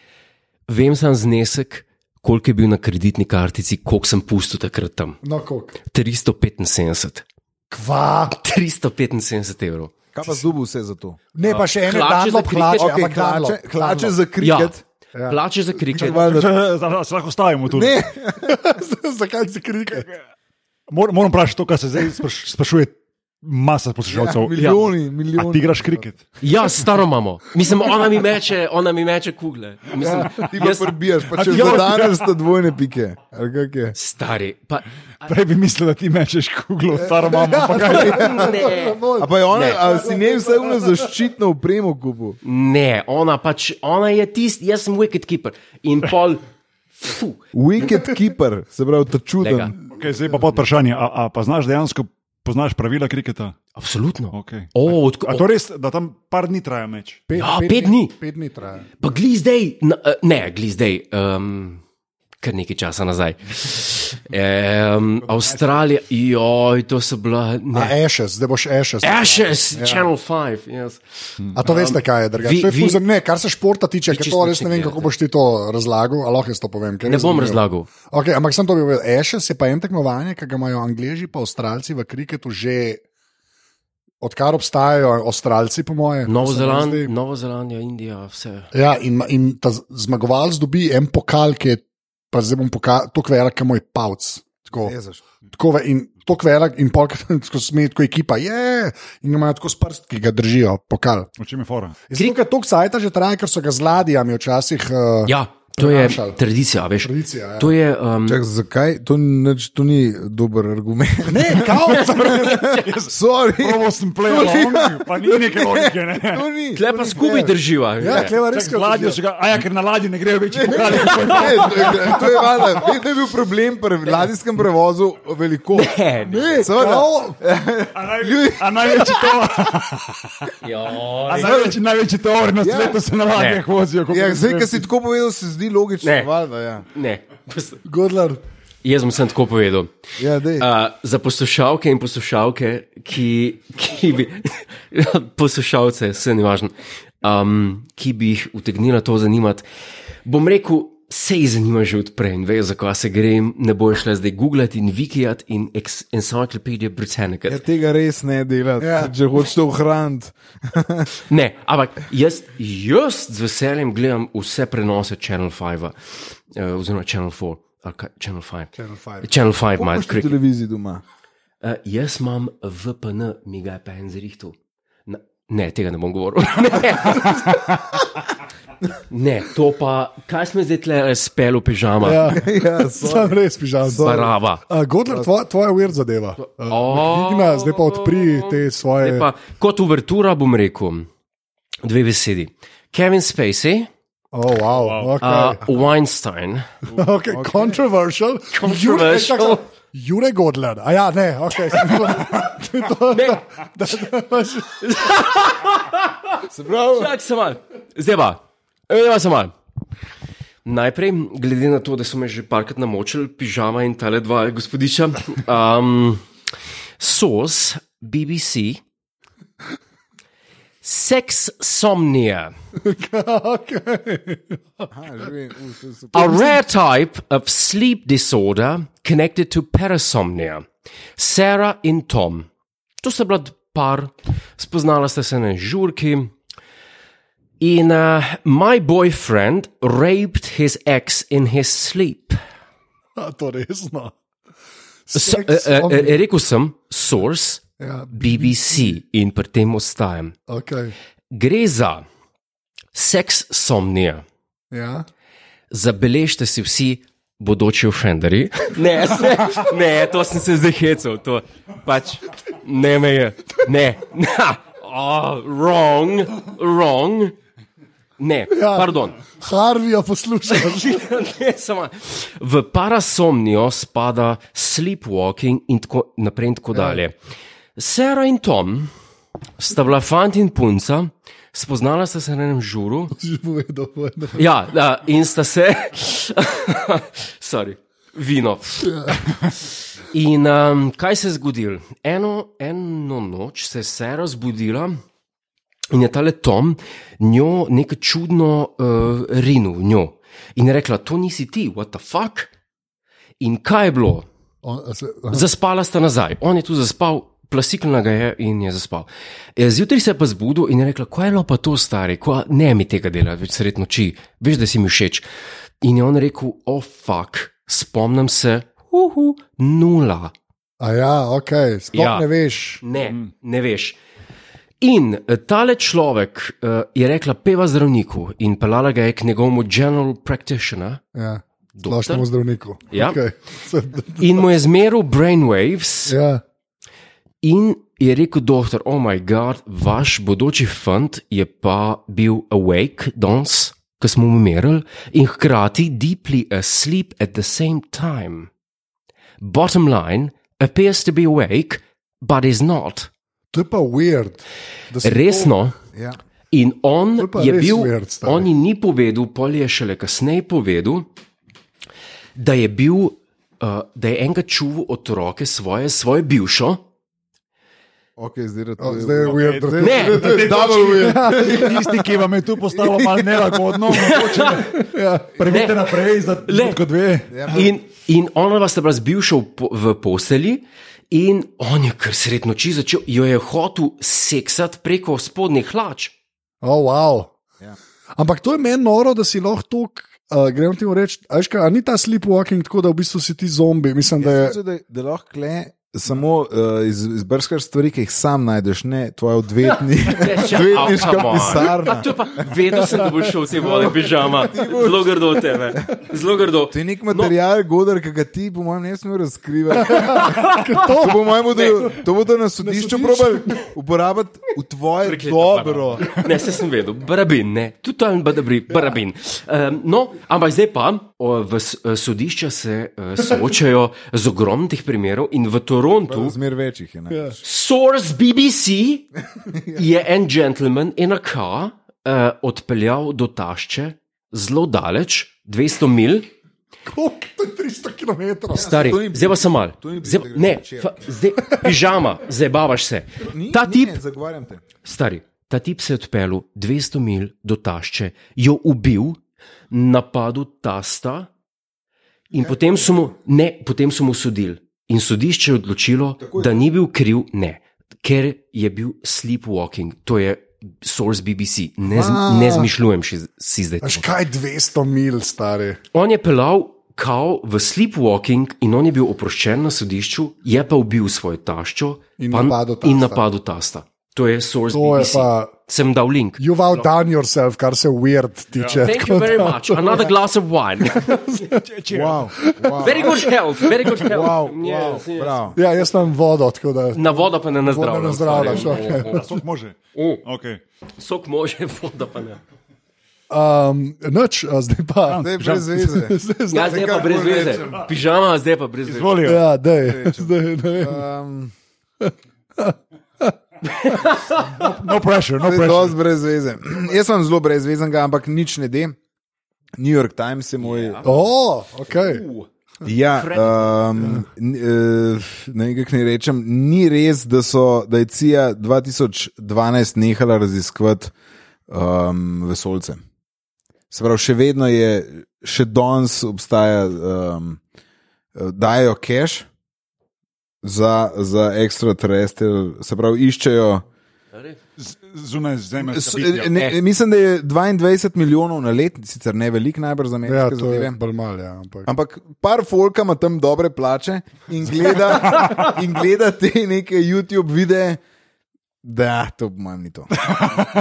Vem sam znesek, koliko je bil na kreditni kartici, koliko sem pustil takrat tam. No, koliko? 375. Kva. 375 evrov. Kaj pa zdubu vse za to? Ne, pa še ene Hlače za Dunlop kriket? hlače, Ja, Ok, ampak Hlače, Dunlop, hlače Dunlop. za Ja, kriket. ja. Plače za kričanje. Zdaj se lahko stavimo tu. Ne, Zakaj si kriket? Mor, moram vprašati to, kar se zdaj spraš, sprašuje masa Ja, poslušalcev. milijoni, milijoni. A ti igraš kriket? Ja, staro imamo. Mislim, ona mi meče, ona mi meče kugle. Mislim, ti pa jaz, prbijaš, pa če A ti že jo- danes sta dvojne pike. ali kako je? stari. Pa, Prej bi mislil, da ti mečeš kuglo, Ja. staro mamo. pa kaj. ne, A pa je ona, Ne. a si ne vse vno zaščitno upremo kupu. ne, ona pač, ona je tisti, jaz sem wicked keeper. In pol, fu, Wicked keeper, se pravi, ta lega. čuden. Okay, zdaj pa pod vprašanje, a, a pa znaš dejansko poznaš pravila kriketa? Absolutno. Okay. O, odko, A to res, da tam par dni traja meč? Pet, Ja, pet dni. Pet dni traja. Pa gli zdaj, na, eh, ne, gli zdaj, um, kar nekaj časa nazaj. Um, Avstralija, joj, to so bila. A eh, ja. Ne. Ashes, zdaj boš Ashes. Ja. Ashes, Channel 5. Yes. A to veste, kaj je drugače? vi- To je ful vi- za- Ne, kar se športa tiče, ker čisto to nič res ne ne vem, gledate. kako boš ti to razlagal, ali lahko jaz to povem. ker Ne res bom vem. razlagal. Okay, ampak sem to bi povedal. Ashes je pa en tekmovanje, ki ga imajo Angliji, pa Avstralci v kriketu že odkar obstajajo, Avstralci, po moje. Novo se mi Zeland, zdi. Novo Zelandija, Indija, vse. Ja, in, in ta z- zmagovalec dobi en pokal, ki je, pa zdaj bom pokal, to kvera, ki je moj pavc. Tako. Jezus. Tako ve- in to kvelak, in polk, tako smeji, tako ekipa je, in ga imajo tako s prst, ki ga držijo, pokal. V čem je fora? Zdaj, ker to cajta že traja, ker so ga z ladijami včasih. Uh, Ja, to je Prenašali. tradicija, veš. Tradicija, ja. To je. Um, Čak, zakaj? To, nič, to ni dober argument. Ne, kao, Sorry, Prvo sem plejal, pa ni neke logike. Ne? to ni. Tle pa skupaj drživa. ja, kleva res Čak, z ladjo so ga, a ja, ker na ladji ne grejo več pokali. Ne, to je- to je valjda. Vedno je bil problem pri ladijskem prevozu veliko. Ne, ne, seveda. A najve- a največji tovor, a največji, največji tovor na svetu se na ladjah vozijo. kot Ja, pri zdaj, ki nas. si tako povedal, se zdi logično. Ne. Valjda, ja. ne. Godler. Jaz bom sem tako povedal. Ja, dej. Uh, za poslušalke in poslušalke, ki, ki bi, poslušalce, vse ne važno, um, ki bi jih utegnila to zanimati, bom rekel, se jih zanima že odprej in vejo, zakaj se gre, ne bojo šle zdaj googlati in vikijati in ex- Encyclopedia Britannica. Ja, tega res ne delati, Ja. ja. če hočeš to ohraniti. Ne, ampak jaz, jaz z veseljem gledam vse prenose Channel 5, uh, oziroma Channel 4, ali kaj, Channel 5. Channel 5. Channel 5 ima Imaš na krik. televiziji doma. Uh, jaz imam VPN, mi ga je pa en zrihtel. Na- Ne, tega ne bom govoril. Ne, ne to pa, kaj smo zdaj tle spel v pižama, ja, Ja, Ja, sorry. sam res pižam. barava. Uh, Godler, tvoja, tvoja weird zadeva. Uh, Oh. Igna, zdaj pa odpri te svoje. Zdaj pa, kot uvertura bom rekel dve besedi. Kevin Spacey, Oh, wow. Okay. uh, Weinstein. Okay, okay. Controversial. Controversial. Jure, čakaj, Jure Godler. A ja, ne, ok. To je to, Ne. da- da- da imaš- Se pravi, Čak se mal, zdaj pa, zdaj pa mal. Najprej, glede na to, da so me že parkrat namočili, pižama in tale dva gospodiča, um, SOS, BBC, Sex Somnia, Okay. aha, že vem, u, to je super. a rare type of sleep disorder connected to parasomnia, Sarah in Tom. To sta bila par, spoznala sta se na žurki. In uh, my boyfriend raped his ex in his sleep. A, To resno. So, uh, Sex uh, on- uh, rekel sem, source, Ja, BBC in pri tem ostajam. okay. Gre za seks somnija. ja. Zabeležite si vsi bodoči ofenderji. Ne, se, ne, to sem se zdaj hecel, to pač ne me je. Ne, na, oh, wrong, wrong. Ne, Ja. pardon. Harvija poslušaš. Ja. ne, samo. V parasomnijo spada sleepwalking in tako naprej in tako dalje. Sara in Tom sta bila fant in punca, spoznala sta se na enem žuru. Že povedal, povedal. Ja, da, in sta se. Sorry, vino. In um, kaj se je zgodilo? Eno, eno noč se je Sara zbudila in je tale Tom njo nekaj čudno uh, rinil, v njo. In je rekla, to nisi ti, what the fuck. In kaj je bilo? On, a se, aha. Zaspala sta nazaj, on je tu zaspal, plasikljena ga je in je zaspal. E, Zjutraj se je pa zbudil in je rekla: Kaj je bilo pa to, stari, Kva, ne mi tega dela, več sred noči, veš, da si mi všeč. In je on rekel: O, oh, fuck, spomnim se, uhu, nula. A ja, ok, sploh Ja. ja. ne veš. Ne, ne veš. In eh, tale človek uh, je rekla: Peva zdravniku in pelala ga je k njegovemu general practitioner. Ja. Doktor? Splošnemu zdravniku. Ja. Okay. Se, In mu je zmeril brainwaves, ja. In je rekel, doktor, oh moj bog, vaš bodoči fant je pa bil awake danes, ko smo umirali, in hkrati deeply asleep at the same time. Bottom line, appears to be awake, but is not. To je pa weird. da si Resno. Ja. In on To je pa je res bil, weird, stari. on ji ni povedal, pol je šele kasneje povedal, da je bil, uh, da je enkrat čuval otroke svoje, svoje bivšo. Okay, zdaj, To, o, zdaj je weird. to Okay, je Ne. to je Ja, double win. Tisti, ki vam je tu postalo malo nelagodno, mogoče, Ja. prebite Ne. naprej za Le. kot dve. In, in ona vas je bila zbivša v, po- v postelji, in on je kar sred noči začel, jo je hotel seksati preko spodnjih hlač. oh, wow. Ja. Ampak to je meni noro, da si lahko tako Uh, gremo ti reči, ajška, a ni ta sleepwalking tako, da v bistvu si ti zombi. Mislim, da je. Jaz mislim, da, da lahko le samo uh, iz, izbrskaš stvari, ki jih sam najdeš, ne tvoje odvetni, Ja, odvetniška pisarna. To je pa vedno sem, da boš šel vsi vode pižama. Zelo grdo od tebe. Zelo grdo. To je nek material, no. Godar, ki ga ti, po mojem, ne smeš razkrivati. to, po mojem, bodo, to bodo na sodišču sodišču. probali uporabiti v tvoje Prekleto dobro. barabo. Ne, se sem vedel, barabin, ne, totalni badabri, barabin. Um, no, ampak zdaj pa o, v s- sodišča se uh, soočajo z ogromnih primerov in v Torontu Zmer večjih je. Ne? Source BBC je en gentleman in a car uh, odpeljal do tašče zelo daleč, 200 mil, Koliko? To je 300 km. stari, to ni- zdaj pa sem mal. to ni Zdaj, pa- bilo ne, včeraj. fa, zdaj, pižama, zdaj bavaš se. Ni, Ta ni, tip, Ne, zagovarjam te. stari, ta tip se je odpeljal 200 mil do tašče, jo ubil, napadel tasta in potem so mu, ne, potem so mu sodili. In sodišče je odločilo, da ni bil kriv, ne, ker je bil sleepwalking, to je source BBC, ne, z, ne zmišljujem še z- si zdaj. Až kaj 200 mil, stari. On je pelal kao v sleepwalking in on je bil oproščen na sodišču, je pa ubil svojo taščo In pa- napadel tasta. in napadel tasta. To je source To je BBC. pa. Sem dal link. You've outdone yourself, kar se weird Ja. tiče. Thank tako you very da- much. Another glass of wine. Wow, wow, Very good health, very good health. wow, Yes, wow, yes. bravo. Ja, jaz imam vodo, tako da. Na vodo pa ne nazdravljaš. ne nazdravljaš, Sok može. Okay. Sok može, voda pa ne. Um, noč, a zdaj pa. Zdaj brez veze. Um, Ja, zdaj pa kar brez bolj veze. rečem. Pižama, zdaj pa brez veze. Izvolijo. Ja, dej, zdaj, ne vem. Um, No pressure, no To je pressure. dosti brez veze. Jaz sem zelo brezvezenega, ampak nič ne de. New York Times je moj. Ja, O, ok. U, ja um, ne vem, kako naj rečem. Ni res, da, so, da je CIA 2012 nehala raziskovati um, vesolce. Se pravi, še vedno je, še danes obstaja, um, dajo cache za, za ekstraterrestre, se pravi, iščejo. Z- Zunaj S- zemeljskega bitja. Ne, ne, mislim, da je 22 milijonov na let, sicer ne veliko, najbrž za ameriške Ja, ja, to je zadeve. bolj malo, ja, ampak. Ampak par folka ima tam dobre plače in gleda, in gleda te neke YouTube videe, da to po mojem ni to.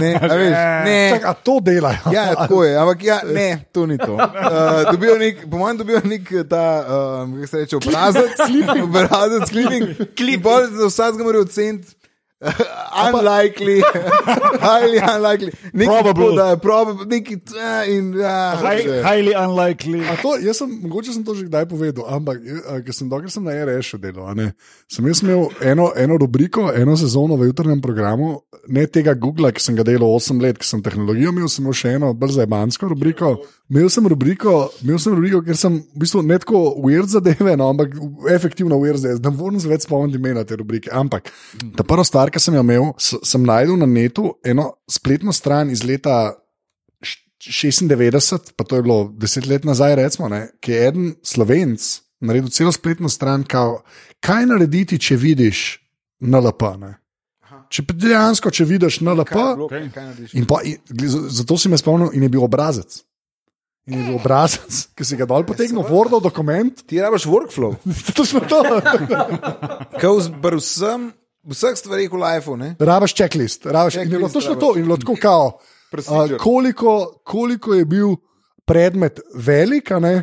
Ne, a veš, ne. Čak, a to delajo? Ja, tako je, ampak ja, ne, to ni to. Uh, dobijo nek, po mojem, dobijo nek ta, um, kako se reče, obrazec, obrazec, kliping. Klip. Za vsakega morajo oceniti. uh, Unlikely, highly unlikely, nekaj Probable. podaja, probable, nekaj uh, in uh, High- Highly unlikely. A To, jaz sem, mogoče sem to že kdaj povedal, ampak eh, a, ker sem dokler sem na RS še delal, a ne, sem jaz imel eno, eno rubriko, eno sezono v jutrnem programu, ne tega Google, ki sem ga delal 8 let, ker sem tehnologijo imel, sem imel še eno bolj zajbansko rubriko. Imel sem rubriko, imel sem rubriko, ker sem v bistvu ne tako weird zadeve, no, ampak efektivno weird zadeve. Ne morem se več spomniti imena te rubrike. Ampak ta prva stvar, ki sem jo imel, s- sem najdel na netu eno spletno stran iz leta 96, pa to je bilo deset let nazaj, recimo, ne, ki je en slovenc naredil celo spletno stran, kao, kaj narediti, če vidiš NLP. Ne? Če pa dejansko, če vidiš NLP, Okay. Kaj narediš? in pa, in, gli- z- zato si me spomnil, in je bil obrazec. In je bil obrazec, ki si ga dol potegnil, vrnil dokument, Ti rabiš workflow. to smo to. Kaj v vsem, vseh stvarih v lifeu, ne? Rabaš checklist, rabaš checklist, in je bilo Checklist točno rabiš. to, in je bilo tako kao. Procedure. a, koliko, koliko je bil predmet velik, a ne?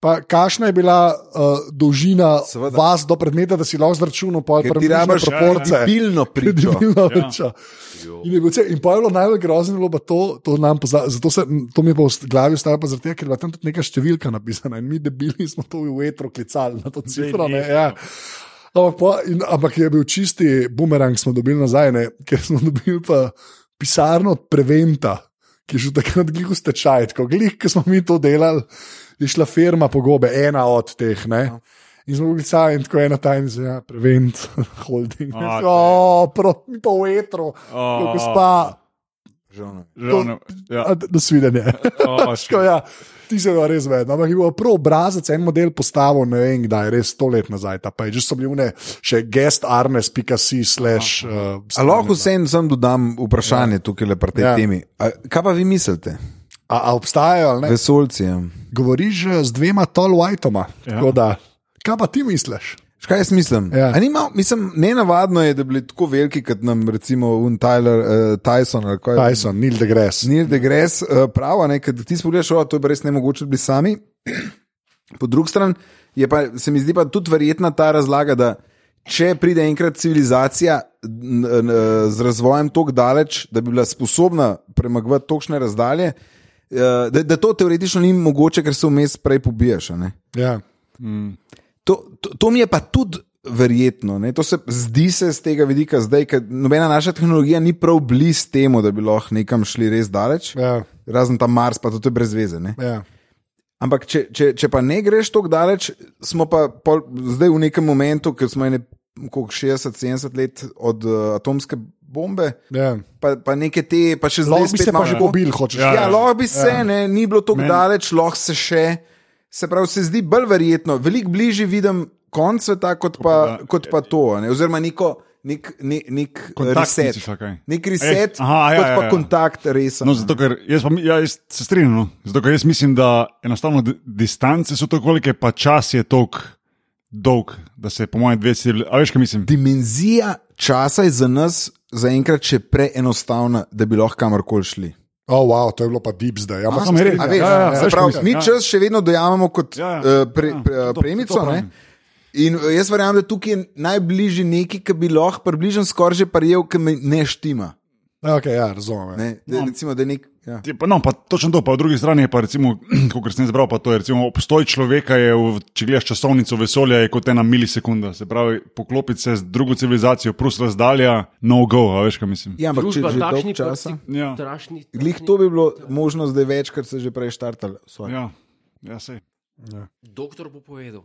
pa kakšna je bila uh, dolžina Seveda. vas do predmeta, da si lahko zračunal pol Ker ti približne rabiš proporce. Pilno pričo. Kredibilna priča. In je bilo vse- in pa je bilo najbolj grozno, je bilo pa to, to nam pozna, zato se, to mi je pa v st- glavi ostalo, pa zaradi tega, ker je bila tam tudi neka številka napisana in mi debili smo to v vetru klicali na to cifro. Ne, ja. ampak, pa, in, ampak je bil čisti bumerang, smo dobili nazaj, ne, ker smo dobili pa pisarno od Preventa, ki je že takrat glih v stečaj, tako glih, ki smo mi to delali, je šla firma pogobe, ena od teh. Ne. Ja. In smo bili sami, in tako ena tajnica, ja, prevent, holding. A, Oh, O, pro- mi pa v etru, O. oh. gospa, Žal no. ne. Žal ne- ja. a, d- nasvidenje. O, Tako, ja, ti se ga res vedno. Ampak je bil prav obrazec, en model postavil, ne vem kdaj, res sto let nazaj. Ta page so bili vne, še guest arnes.si slash. Uh, A lahko vsem sem dodam vprašanje ja. tukaj le pri tej ja. Ja. temi. A, kaj pa vi mislite? A, a obstajajo, ali ne? Vesolci. Ja. Govoriš eh, z dvema tall whiteoma. Ja. Kaj pa ti misliš? Škaj jaz mislim? Ja. Ja. Nima, mislim ne navadno je, da bi bili tako veliki, kot nam recimo un Tyler, uh, Tyson ali kaj. Tyson, Neil deGrasse. Neil deGrasse uh, pravi, ne, ker ti spogledaš, o, to je pa res ne mogoče biti sami. Po drugi strani je pa, se mi zdi pa tudi verjetna ta razlaga, da če pride enkrat civilizacija n, n, z razvojem tako daleč, da bi bila sposobna premagovati točne razdalje, eh, da, da to teoretično ni mogoče, ker se vmes prej pobiješ. a ne. Ja. To, to, to mi je pa tudi verjetno, ne? to se zdi se z tega vidika zdaj, ker nobena naša tehnologija ni prav blizu temu, da bi lahko nekam šli res daleč. Ja, Razen ta Mars, pa tudi to je brez veze. Ne? ja. Ampak, če, če, če pa ne greš tako daleč, smo pa pol, zdaj v nekem momentu, ker smo ene, koliko, 60, 70 let od uh, atomske bombe, ja. pa, pa neke te, pa še zdaj Lahko bi spet se pa imamo že tako- pobil, hočeš. Ja, Ja, lahko bi se, Ja. ja. ne, ni bilo tako Meni- daleč, lahko se še. Se pravi, se zdi bolj verjetno, veliko bližje vidim konc sveta, kot pa, da- ja, kot pa to. a Ne? Oziroma, neko, nek, ne, nek Kontakt reset. misliš, ali kaj? Nek reset, Eh, aha, ja, kot ja, pa ja. kontakt, res. No, zato, ker jaz, pa, mi- ja, jaz se strinjam. No. Zato, ker jaz mislim, da enostavno di- distance so tako velike, pa čas je tako dolg, da se po mojem dve cilji. A veš, kaj mislim? dimenzija časa je za nas zaenkrat še preenostavna, da bi lahko kamorkoli šli. Oh, wow, to je bilo pa deep zdaj. Ja, pa se me res, strinjam. A Ja, Veš, ja, ja, se veš, kaj pravi, mislim, mi ja. čas še vedno dojamemo kot Ja, ja, eh, pre- ja, pre- to- to premico. ne. pravim. In eh, jaz verjamem, da tukaj je najbližje neki, ki bi lahko približno skoraj že parjel, ki me ne štima. Ja, okay, ja, razumem. ja. Ne? No. Da, recimo, da je nek, ja. Je Pa, no, pa točno to, pa po drugi strani je pa, kot sem zbral, pa to je recimo, obstoj človeka, je, v- če gledaš časovnico vesolja, je kot ena milisekunda. Se pravi, poklopiti se z drugo civilizacijo, plus razdalja, no go, a veš, kaj mislim. ja, ampak če Družba že dolgo takšni časa. Ja. Trašni, Glih to bi bilo možno zdaj več, ker se že prej štartali. Sorry. Ja, ja sej. Doktor bo povedal.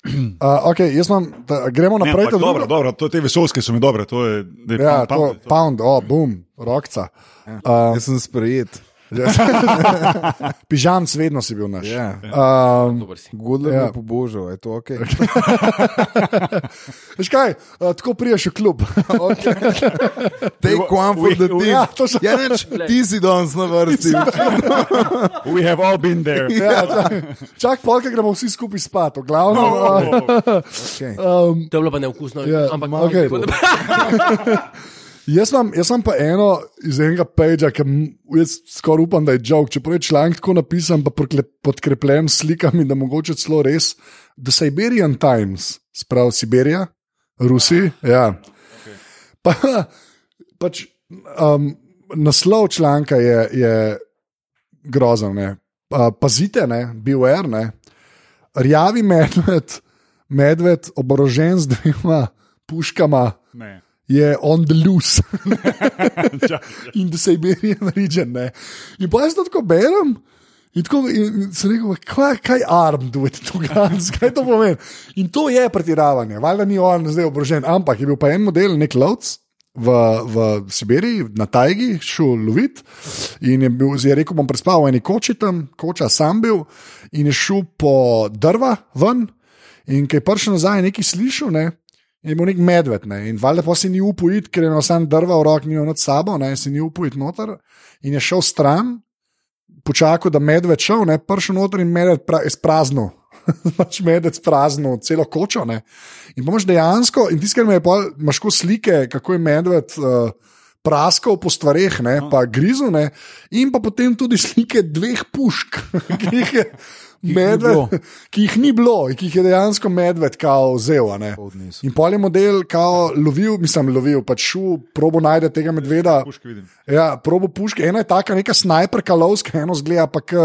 Uh, okay, jaz imam, da, gremo Ne, naprej. ampak ta druga- dobro, dobro, to, te vesolske so mi dobre, to je. da je No, Ja, pam- pam- to, Ja. pound, oh, boom, rokca. Uh, Jaz sem sprejet. Pižamc, vedno si bil naš. Ja. Um, Dober si. Godler Ja. ja. me je pobožal, je to ok. veš kaj, uh, tako priješ v klub. Take one for the team. Ja, to so- Ja, neč, ti si danes na vrsti. We have all been there. ja, čak, čak polka gremo vsi skupaj spat, v glavnem. Uh, Okay. To je bilo pa neukusno, Ja, ampak ma- okej. Jaz imam, jaz imam pa eno iz enega peča, ki m- jaz skoraj upam, da je žog. Čeprav je članek tako napisan, pa prikle- podkrepljen s slikami, da mogoče celo res. The Siberian Times, sprav Siberija, Rusi. Ja. Pa, pač, um, naslov članka je, je grozen. ne. Pa- Pazite, ne, beware, ne. Rjavi medved, medved oborožen z dvema puškama Ne. je on the loose Čakaj, in the Siberian region. Ne. In pa jaz to tako berem. In tako in sem rekel, kaj, kaj je armed with two guns, kaj to pomeni. In to je pretiravanje, valjda ni on zdaj obrožen, ampak je bil pa en model, nek lovc. V, v Sibiriji, na Tajgi, šel lovit in je, bil, je rekel: Bom prespal v eni koči tam, koča sam bil, in je šel po drva ven, in ki je prišel nazaj, je nekaj slišal, ne, je bil nek medved. Ne, in valjda pa se ni upal iti, ker je imel sam drva v roki, ni imel nad sabo, ne, se ni upal iti noter, in je šel stran, počakal, da medved šel, ne, pršel noter in medved pra, sprazno. pač medved sprazno, celo kočo. Ne. In pa imaš dejansko, in tiskaj me je pa, imaš ko slike, kako je medved. Uh, Praskal po stvareh, ne, pa grizu, ne, in pa potem tudi slike dveh pušk, ki jih je medved, ki jih ni bilo, in ki jih je dejansko medved kao vzel. a ne. In pol je model kao lovil, mislim, lovil, pač šel, probo najde tega medveda. Puške vidim. Ja, probo puške, ena je taka, neka snajperka lovska, eno zgleda pa k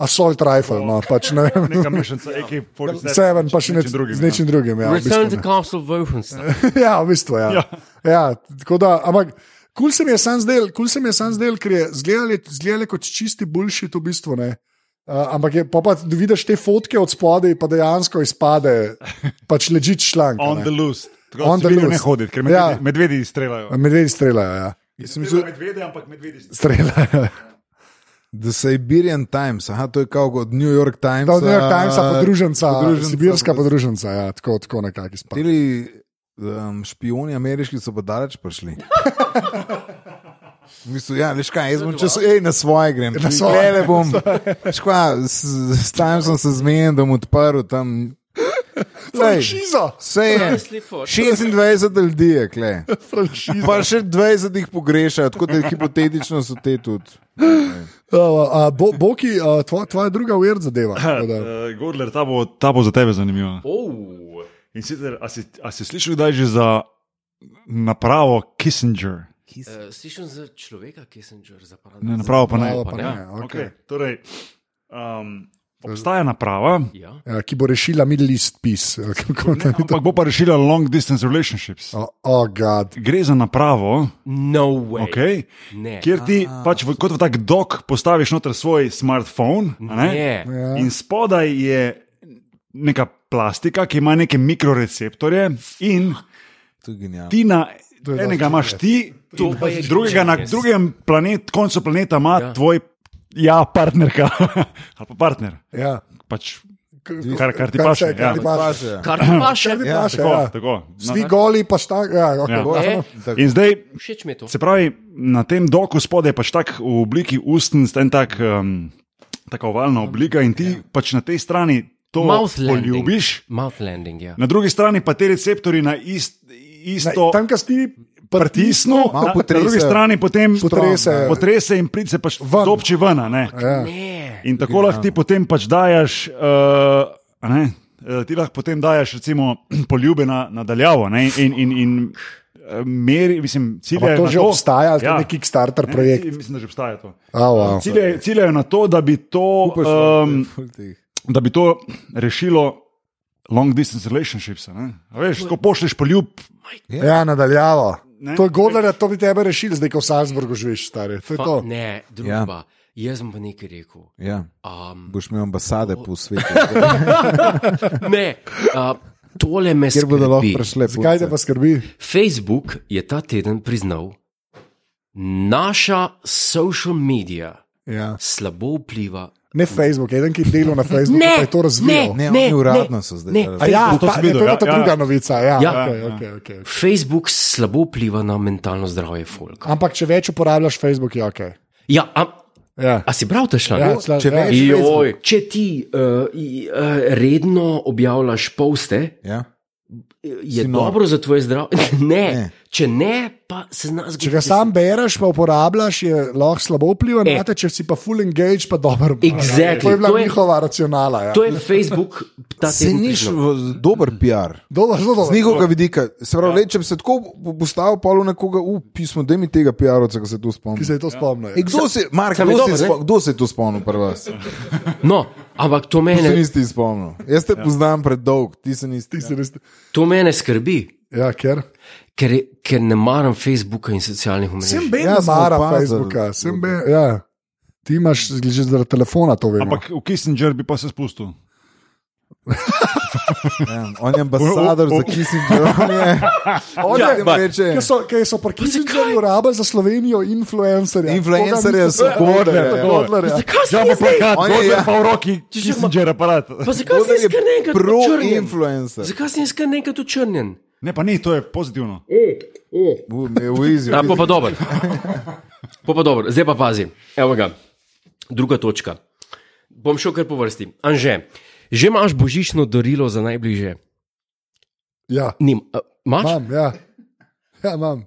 assault rifle, no, pač ne vem. Neka mešanica, AK-47. Seven, pa še nečim drugim. drugim, Z nečim drugim, ja. V Return bistvu, to ne. Castle Wolfenstein. ja, v bistvu, ja. ja. Ja. ja tako da, ampak kul cool se mi je sam zdel, kul cool se mi je sam zdel, ker je zgledali, zgledali kot čisti boljši, to v bistvu ne. Uh, ampak je, pa, pa vidiš te fotke od spodaj, pa dejansko izpade, pač leži članek. On a ne. the loose. Tako On On the the loose. Ne loose. hoditi, Ja. ker medvedi, ja. medvedi streljajo. Medvedi streljajo, ja. Mislil... Medvede, ampak medvedi streljajo. streljajo. The Siberian Times, aha, to je kot od New York eh, Times. Da, od New York Timesa, podruženca, podruženca, podruženca, sibirska podruženca. podruženca, ja, tako, tako nekako izpade. Tili um, špioni ameriški so pa daleč prišli. V bistvu, ja, veš kaj, jaz bom čez ej, na svoje grem. Na svoje le bom. Škva, s, s tam sem se zmenil, da bom odprl tam. Sej, Franšiza! sej je. 26 ljudi je, kle. Franšiza. Pa še 20 jih pogreša, tako da hipotetično so te tudi. Uh, a, bo, Boki, uh, tvoja, tvoja druga uvert zadeva. tako da. Uh, Gordler, ta bo, ta bo za tebe zanimiva. Oh, In sicer, a si, a si slišal kdaj že za napravo Kissinger? eh, Slišim za človeka, ki sem že zapravil. Ne, napravo pa ne. Napravo pa pa ne. ne, okej. Okay, torej, um, obstaja naprava, Ja. Ja, ki bo rešila Middle East peace. eh, kako ne, naj to- ampak bo pa rešila long distance relationships. O, o, gad. Gre za napravo, No way. okay, Ne. kjer ti pač v, kot v tak dok postaviš noter svoj smartphone. a Ne? Ne. Ja. In spodaj je neka plastika, ki ima neke mikroreceptorje, in To je genialno. ti na To je dosti enega imaš ti, To in pa je drugega na genius. drugem planet, koncu planeta ima Ja. ja. tvoj. Ja, partnerka ali pa partner. Ja. Pač, K- Kar- kar ti se- paše, Kar ti ja. paše. Kar ti paše. Kar ti Ja, paše, tako, ja. tako. No, Svi goli, pa šta. Ja, Ja. okay, Ne. ja. Tako. in zdaj Všeč mi je to. Se pravi, na tem doku spodaj je pač tak v obliki ustnic, en tak, um, tako ovalna oblika in ti pač na tej strani to Mouth landing. poljubiš, Mouth landing, ja. na drugi strani pa ti receptori na ist, isto. Tam, kjer ti Pritisnu, ja, Malo na, na potresejo. drugi strani potem Potresejo. potrese in pride se pač Ven. dopči ven. a ne. Ja. Ne. In tako lahko ti potem pač dajaš, uh, a ne, eh, ti lahko potem dajaš recimo poljube na, nadaljavo in, in, in, in eh, meri, mislim, ciljajo Ampak to na že to. obstaja, Ja. ali to je nek Kickstarter Ne, projekt? cilj- Mislim, da že obstaja to. A, wow. Ciljajo, ciljajo na to, da bi to, um, da bi to rešilo long distance relationships. a ne. A Veš, ko pošleš poljub, Ja, nadaljavo. Ne. To je gore, da to bi tebe rešili, zdaj ko v Salzburgu živiš, stari. To je to. Pa, ne, druga. Jaz bom pa nekaj rekel. Ja, Um, boš imel ambasade po svetu, ne, uh, tole me kjer bodo lahko skrbi. prišle. Zakaj te pa skrbi? Facebook je ta teden priznal, naša social medija Ja. slabo vpliva. Ne Facebook, eden, ki je delal na Facebooku, Ne, pa je to razvil. Ne, Ne, oni uradno so zdaj. ne. A ja, To ta, sem je videl, to ja, je ta ja, druga ja. novica. Ja, Ja. okej, okej, okej. Facebook slabo vpliva na mentalno zdravje folk. Ampak če več uporabljaš Facebook, je ok. Ja, a, Ja. a si prav ta šla? Ja, sla- če ja. veš- Joj, če ti uh, i, uh, redno objavljaš poste, Ja. je Si nor. dobro za tvoje zdravje. Ne, ne, Ne. če ne, pa se znaš Če ga sam bereš, pa uporabljaš, je lahko slabo vpliva E. na te, če si pa full engage, pa dobro. uporabljaš. Exactly. To je To bila je- njihova racionala. Ja. To je Facebook, ta Se teden niš priznal. v- dober PR. Dobro, zelo Z dobro. njihovega vidika, se pravi, ja. le, če bi se tako po- postavil, pa v nekoga, upismo, da mi tega PR-ovca, ki se tu Ki spomni. se je to spomnil. ja. E, kdo, se, Mark, Sam je kdo, dober, se ne? spo, kdo se je tu spomnil pri vas? No, ampak to Ti se mene, nisi spomnil. Jaz te ja. poznam predolg, ti se Ja. nisi. Ti si res- to mene skrbi, Ja, ker. ker, ker ne maram Facebooka in socialnih Sem omrežij. bil Ja, mara Facebooka, sem bil. Ja. Ti imaš že zaradi telefona to vemo. ampak v Kissinger bi pa se spustil. Ja, on je ambasador O, o, o. za Kissinger. on je- On Ja, je jim ampak- reče. Kaj so, kaj so pa Kissingerji uporabljali za Slovenijo influencerje? Influencerje so Godler, Godler. ja. Zakaj se Ja, mi pa zdaj? plakat, On je, on je ja. pa v roki Kissinger aparat. Pa zakaj se jaz kar nekaj očrnjen? Pro-influencer. Zakaj se jaz kar nekaj očrnjen? Ne, pa ni, to je pozitivno. U, me je ujezil. Ja, pa pa dober. Pa pa dober. Zdaj pa pazi. Evo ga. Druga točka. Bom šel kar po vrsti. Anže, že imaš božično darilo za najbližje? Ja, Nim, a, imaš? imam, ja. Ja, imam.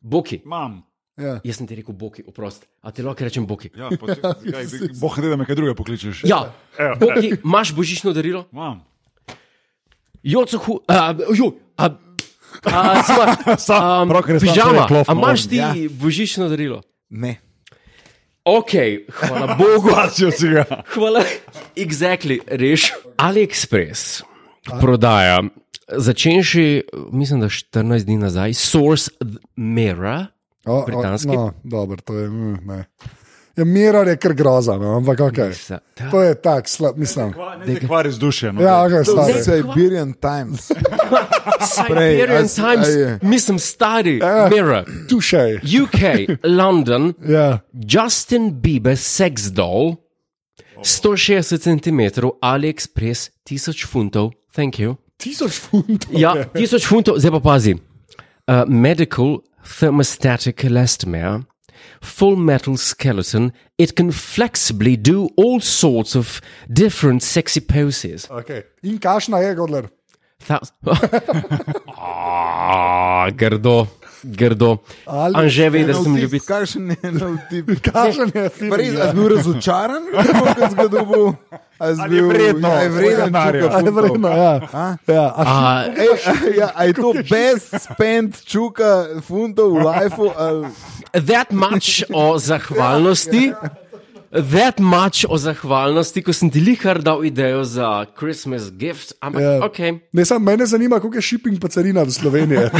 Boki. Imam. Ja. Jaz sem ti rekel boki, oprosti. A ti lahko rečem boki. Ja, pa če- zakaj bi- Bog ne da me kaj drugega pokličeš. Ja, boki, imaš božično darilo? Imam. Jocohu, a, jo, a, a, sva, Sam, prav, ker je sam pižama, človek klof, a imaš moram. ti Ja. božično darilo? Ne. Ok, hvala Bogu. Plačil si ga. Hvala. Exactly, reš. AliExpress prodaja, začenši, mislim, da 14 dni nazaj, Source Mera. O, o, Britanski? No, dobro, to je. mm, Ne. Ja, Mirar je kar groza, no, ampak ok. To je tak, slab, mislim. Ne te kvari z dušem. No. Ja, ok, To slab. je Siberian Times. Prej, Siberian a s- a Times, je. mislim, stari, Ja. Mera. Tušej. UK, London, Ja. Justin Bieber, sex doll, 160 cm, AliExpress, 1000 funtov, thank you. Tisoč funtov. Ja, 1000 funtov, zdaj pa pazi. Uh, medical thermostatic elastomer, Full Metal Skeleton, it can flexibly do all sorts of different sexy poses. Okay. In kašna je, Godler. Thous- Ah, grdo, grdo. Ali- Anže ve, da sem ljubitelj. Kakšen je nov tip? Kašen je, film, Pa res, ja. a si bil razočaran, ko si ga dobil? A si Ali je bil- vredno? Ja, je vredno Denarja. čuka A je funtov? vredno, ja. ja. A, A, Ej, a, ja, a je to best spent čuka funtov v lifeu? ali- that much o zahvalnosti. That much o zahvalnosti, ko sem ti lihar dal idejo za Christmas gift, ampak ja. yeah. ok. Ne, samo mene zanima, koliko je shipping pa carina do Slovenije.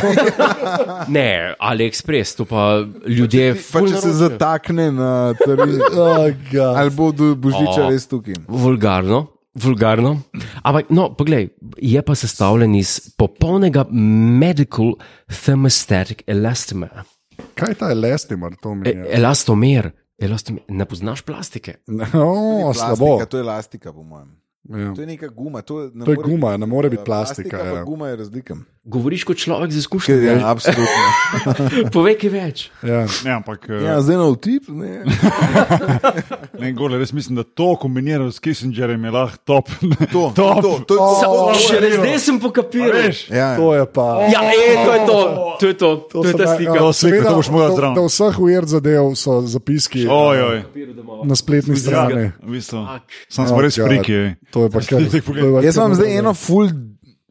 Ne, AliExpress, to pa ljudje. Pa če se zatakne na trg, oh, God. ali bo do božiča res tukaj. Vulgarno. Vulgarno. Ampak, no, poglej, je pa sestavljen iz popolnega medical thermostatic elastomera. Kaj je ta elastimer, to mi Ja. E, je? elastomer, elastomer, ne poznaš plastike. No, slabo. Plastika, to je elastika, po mojem. Ja. To je neka guma. To, ne To je more eh, guma, ne more biti plastika, plastika, pa ja. Guma je razlika. Govoriš kot človek z izkušnjami. Ja, Ja. absolutno. Povej, kaj več. Ja. Ne, ampak eh, Ja, zdaj na vtip. Ne. ne, gole, res mislim, da to kombinirano s Kissingerjem je lahko top. To, Top. to, to, Sa- to, Šele zdaj sem pokapiral. Veš, ja, To je pa. Ja, e, to je to, to je to, to je so ta me- slika. ja, To sliko, seveda, to boš moral do- zraven. Do vseh ujerd zadev so zapiski ojoj. na spletni strani. Ja, V bistvu. Ak. Sam smo Oh, res God. friki. To je pa kar. Zdaj to je pogledaj. pa Jaz kar imam zdaj narobe. eno full.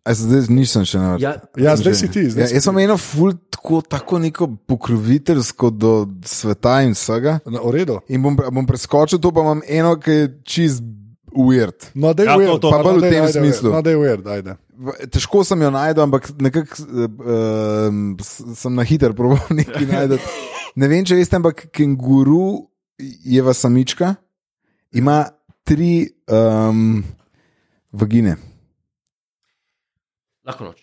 A se zdaj nisem še na vrsti. Ja, Ja, zdaj si ti. Ja, Zdaj si jaz ti. sem eno ful tako, tako neko pokroviteljsko do sveta in vsega. Na no, v redu. In bom, bom preskočil to, pa imam eno, ki je čist weird. No, da je Ja, to, ujerd, to, pa bolj v tem smislu. No, da je ujerd, ajde. V- Težko sem jo najdel, ampak nekako uh, sem na hiter probal nekaj najti. Ne vem, če veste, ampak kenguru je vas samička, ima tri um, vagine. lahko noč.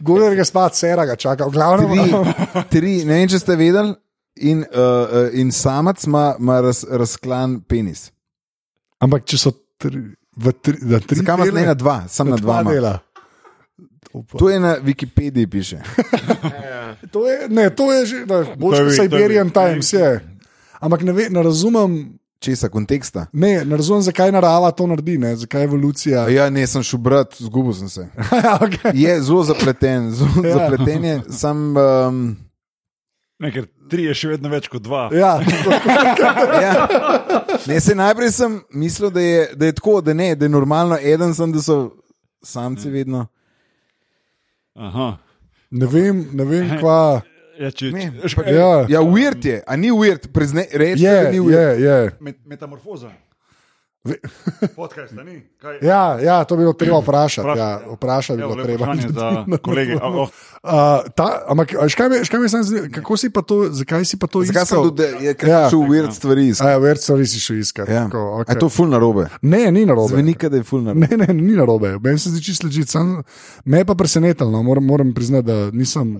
Guler ga spat, sera ga čaka, glavno. tri, tri, ne vem, če ste vedeli. In, uh, uh, in samac ima ima raz, razklan penis. Ampak če so tri, v tri, na tri Zakaj ima ne dele, na dva, samo na na dva dva? ima. dela. To je na Wikipediji piše. To je, ne, to je že, da, boš To je- kot to je- Siberian Times je. Ampak ne, ve, ne razumem, Česa, konteksta? ne, ne razumem, zakaj narava to naredi, ne, zakaj evolucija. Ja, Ja, ne, sem šel brat, zgubil sem se. okay. Je zelo zapleten, zelo Ja. ja. zapleten je. Sam, um, Ne, ker tri je še vedno več kot dva. Ja, ja. ne, se najprej sem mislil, da je, da je tako, da, ne, da je normalno, eden sem, da so samci vedno. Aha. ne vem, ne vem, kva. Ja, če, Ne. če, še pa, Ja, Ja, uvert je, a ni uvert, reči, da je, ni uvert. je, je. met, metamorfoza. Ve- Podcast, a ni? Kaj? Ja, ja, to bi bilo treba vprašati. Vprašaj, Ja, vprašati bi Evo, bilo lepo treba. vprašanje za kolege. A, oh, Uh, ta, ampak, a veš, kaj me, veš, kaj me samo zanima, kako si pa to, zakaj si pa to Zakaj sem iskal? tudi, je, ker Ja. sem šel uvert stvari iskati. A, verco nisi šel iskat. Ja. Tako, A okay. je to ful na robe. Ne, ni narobe. Zveni, kot da je ful na robe. Ne, ne, ni narobe. Meni se zdi čisto ležite. Me je pa presenetilo, no. moram, moram priznati, da nisem.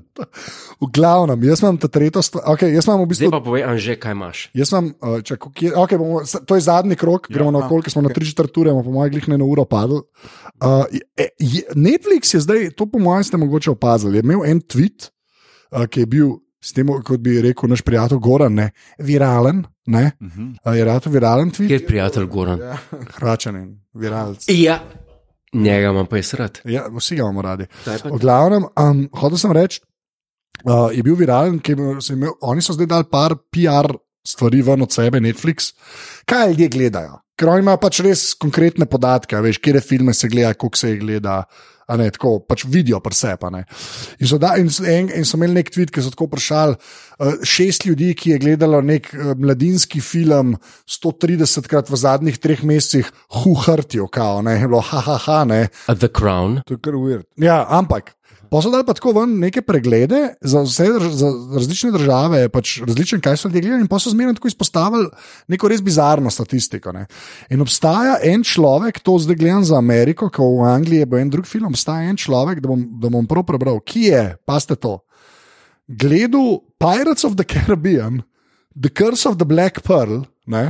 V glavnem, jaz imam ta tretjo stvar. Okay, jaz imam v bistvu Zdaj pa povej, Anže, kaj imaš. Jaz sem, če, kje, okay, bomo, s- to je zadnji krok, gremo na okolje, smo na tri četrt ure, bomo po mojem, glih ne na uro padli. Uh, je- je- Netflix je zdaj, to po mojem, ste mogoče opazili, je imel en tweet, uh, ki je bil, s tem, kot bi rekel naš prijatelj Goran, ne, viralen, ne, uh -huh. uh, je rado viralen tweet, Kjer je prijatelj Goran? hračanen, viralc. Ja, njega imam pa jaz rad. Ja, vsi ga imamo radi. Kaj pa V glavnem, um, hotel sem reči, uh, je bil viralen, ki je se je imel, oni so zdaj dali par PR stvari ven od sebe, Netflix. Kaj ljudje gledajo? Ker oni imajo pač res konkretne podatke, a veš, kje filme se gleda, koliko se jih gleda. a Ne, tako pač vidijo, presep. In, so da- in, so en, in so imeli nek tweet, ki so tako vprašali uh, šest ljudi, ki je gledalo nek uh, mladinski film 130 krat v zadnjih treh mesecih, huhrtijo, kao, ne, je bilo, ha, ha, ha, ne. A The Crown. To je kar uvert. Ja, ampak. Pa so dali pa tako ven neke preglede za vse drž za različne države, pač različne, kaj so ljudje gledali, in pa so zmerno tako izpostavili neko res bizarno statistiko. Ne. In obstaja en človek, to zdaj gledam za Ameriko, ko v Angliji je bil en drug film, obstaja en človek, da bom, da bom prav prebral, ki je, paste to, gledal Pirates of the Caribbean, The Curse of the Black Pearl, ne,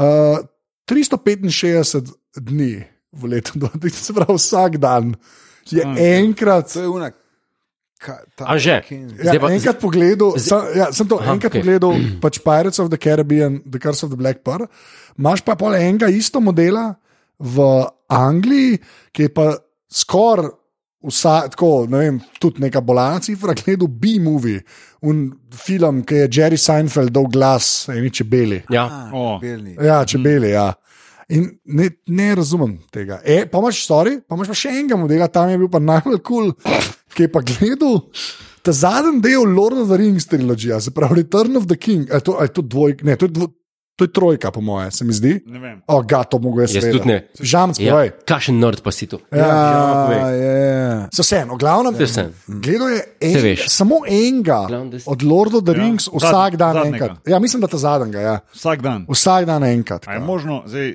uh, 365 dni v letu, 2000, se pravi vsak dan. Je enkrat, To je unak. Ka, ta, Anže, Ja, zdaj pa- enkrat pogledal, sem, ja, sem to Aha, Aha, enkrat okay. okej. pogledal, pač Pirates of the Caribbean, The Curse of the Black Pearl. Imáš pa pol enega isto modela v Angliji, ki je pa skoraj. Vsa, tako, ne vem, tudi neka bolna cifra, gledal B-movie, un film, ki je Jerry Seinfeld dal glas eni čebeli. Ja, O. Belni. Ja, čebeli, ja. In ne, ne razumem tega. E, pa imaš, sorry, pa imaš pa še enega modela, tam je bil pa najbolj kul, cool, ki je pa gledal. Ta zadnji del Lord of the Rings trilogije, se pravi Return of the King, ali to, ali to dvojk, ne, to je, dvo, to je trojka, po moje, se mi zdi. Ne vem. O, ga, to mogo jaz Jaz vedeti. tudi ne. Žamc, ja. povej. kakšen nerd pa si to. Ja, povej. je. Se vsem, glavno, Saj vseeno. mm. gledal je Saj en, veš. samo enega Glavno, da si- od Lord of the Ja, Rings, zadnj- vsak dan zadnjega. enkrat. Ja, mislim, da ta zadnjega, ja. Vsak dan. Vsak dan enkrat. A je ja. možno zdaj.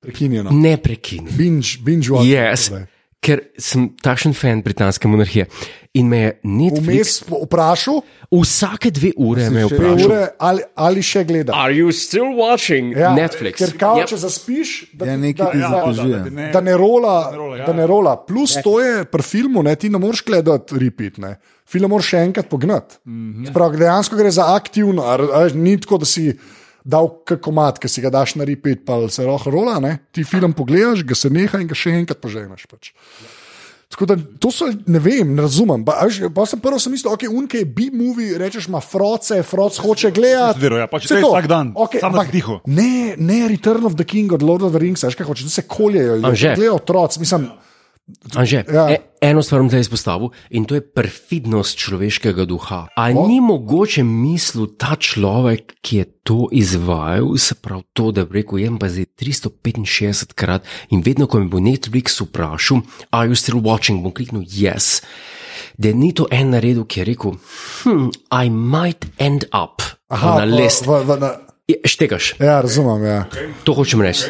prekinjeno. ne prekinjen. Binge, binge watch. Yes, ker sem takšen fan britanske monarhije in me je Netflix Vmes po- vprašal, vsake dve ure me je dve vprašal. ure, ali, ali še gleda. Are you still watching Netflix? Ja, Ker kao, Yep. če zaspiš, da, Ja, ti- nekaj da, ti da, zapiš. da ti ne- da ne rola. rola, ja. Da ne rola. Plus to je pri filmu, ne, ti ne moreš gledati repeat. Ne. Film moraš še enkrat pognati. Mm Mhm. -hmm. Dejansko gre za aktivno, a, a, ni tako, da si dal kak komat, ki si ga daš na repeat, pa se roh rola. Ne. Ti film pogledaš, ga se neha in ga še enkrat poženeš. Pač. Tako da to so, ne vem, ne razumem. Pa, a veš, pa sem prvo sem mislil, ok, unke je B-movie, rečeš, ima froce, froc hoče gledati. Zdero, ja, pač Vse to je to. vsak dan, Okej, samo da ampak si tiho. Ne, ne, Return of the King od Lord of the Rings, veš kaj hočeš, da se koljejo, Anže. gledajo otroci. Mislim, Anže, Ja. ja. e, eno stvar bom te izpostavil in to je perfidnost človeškega duha. Ali ni mogoče mislil ta človek, ki je to izvajal, se pravi to, da bi rekel, jem pa zdaj 365 krat in vedno, ko me bo Netflix vprašal, are you still watching, bom kliknil yes. Da ni to en naredil, ki je rekel, hm, I might end up Aha, na v- list. v- v- na, Je, Štekaš, ja, razumem. Ja. to hočem reči.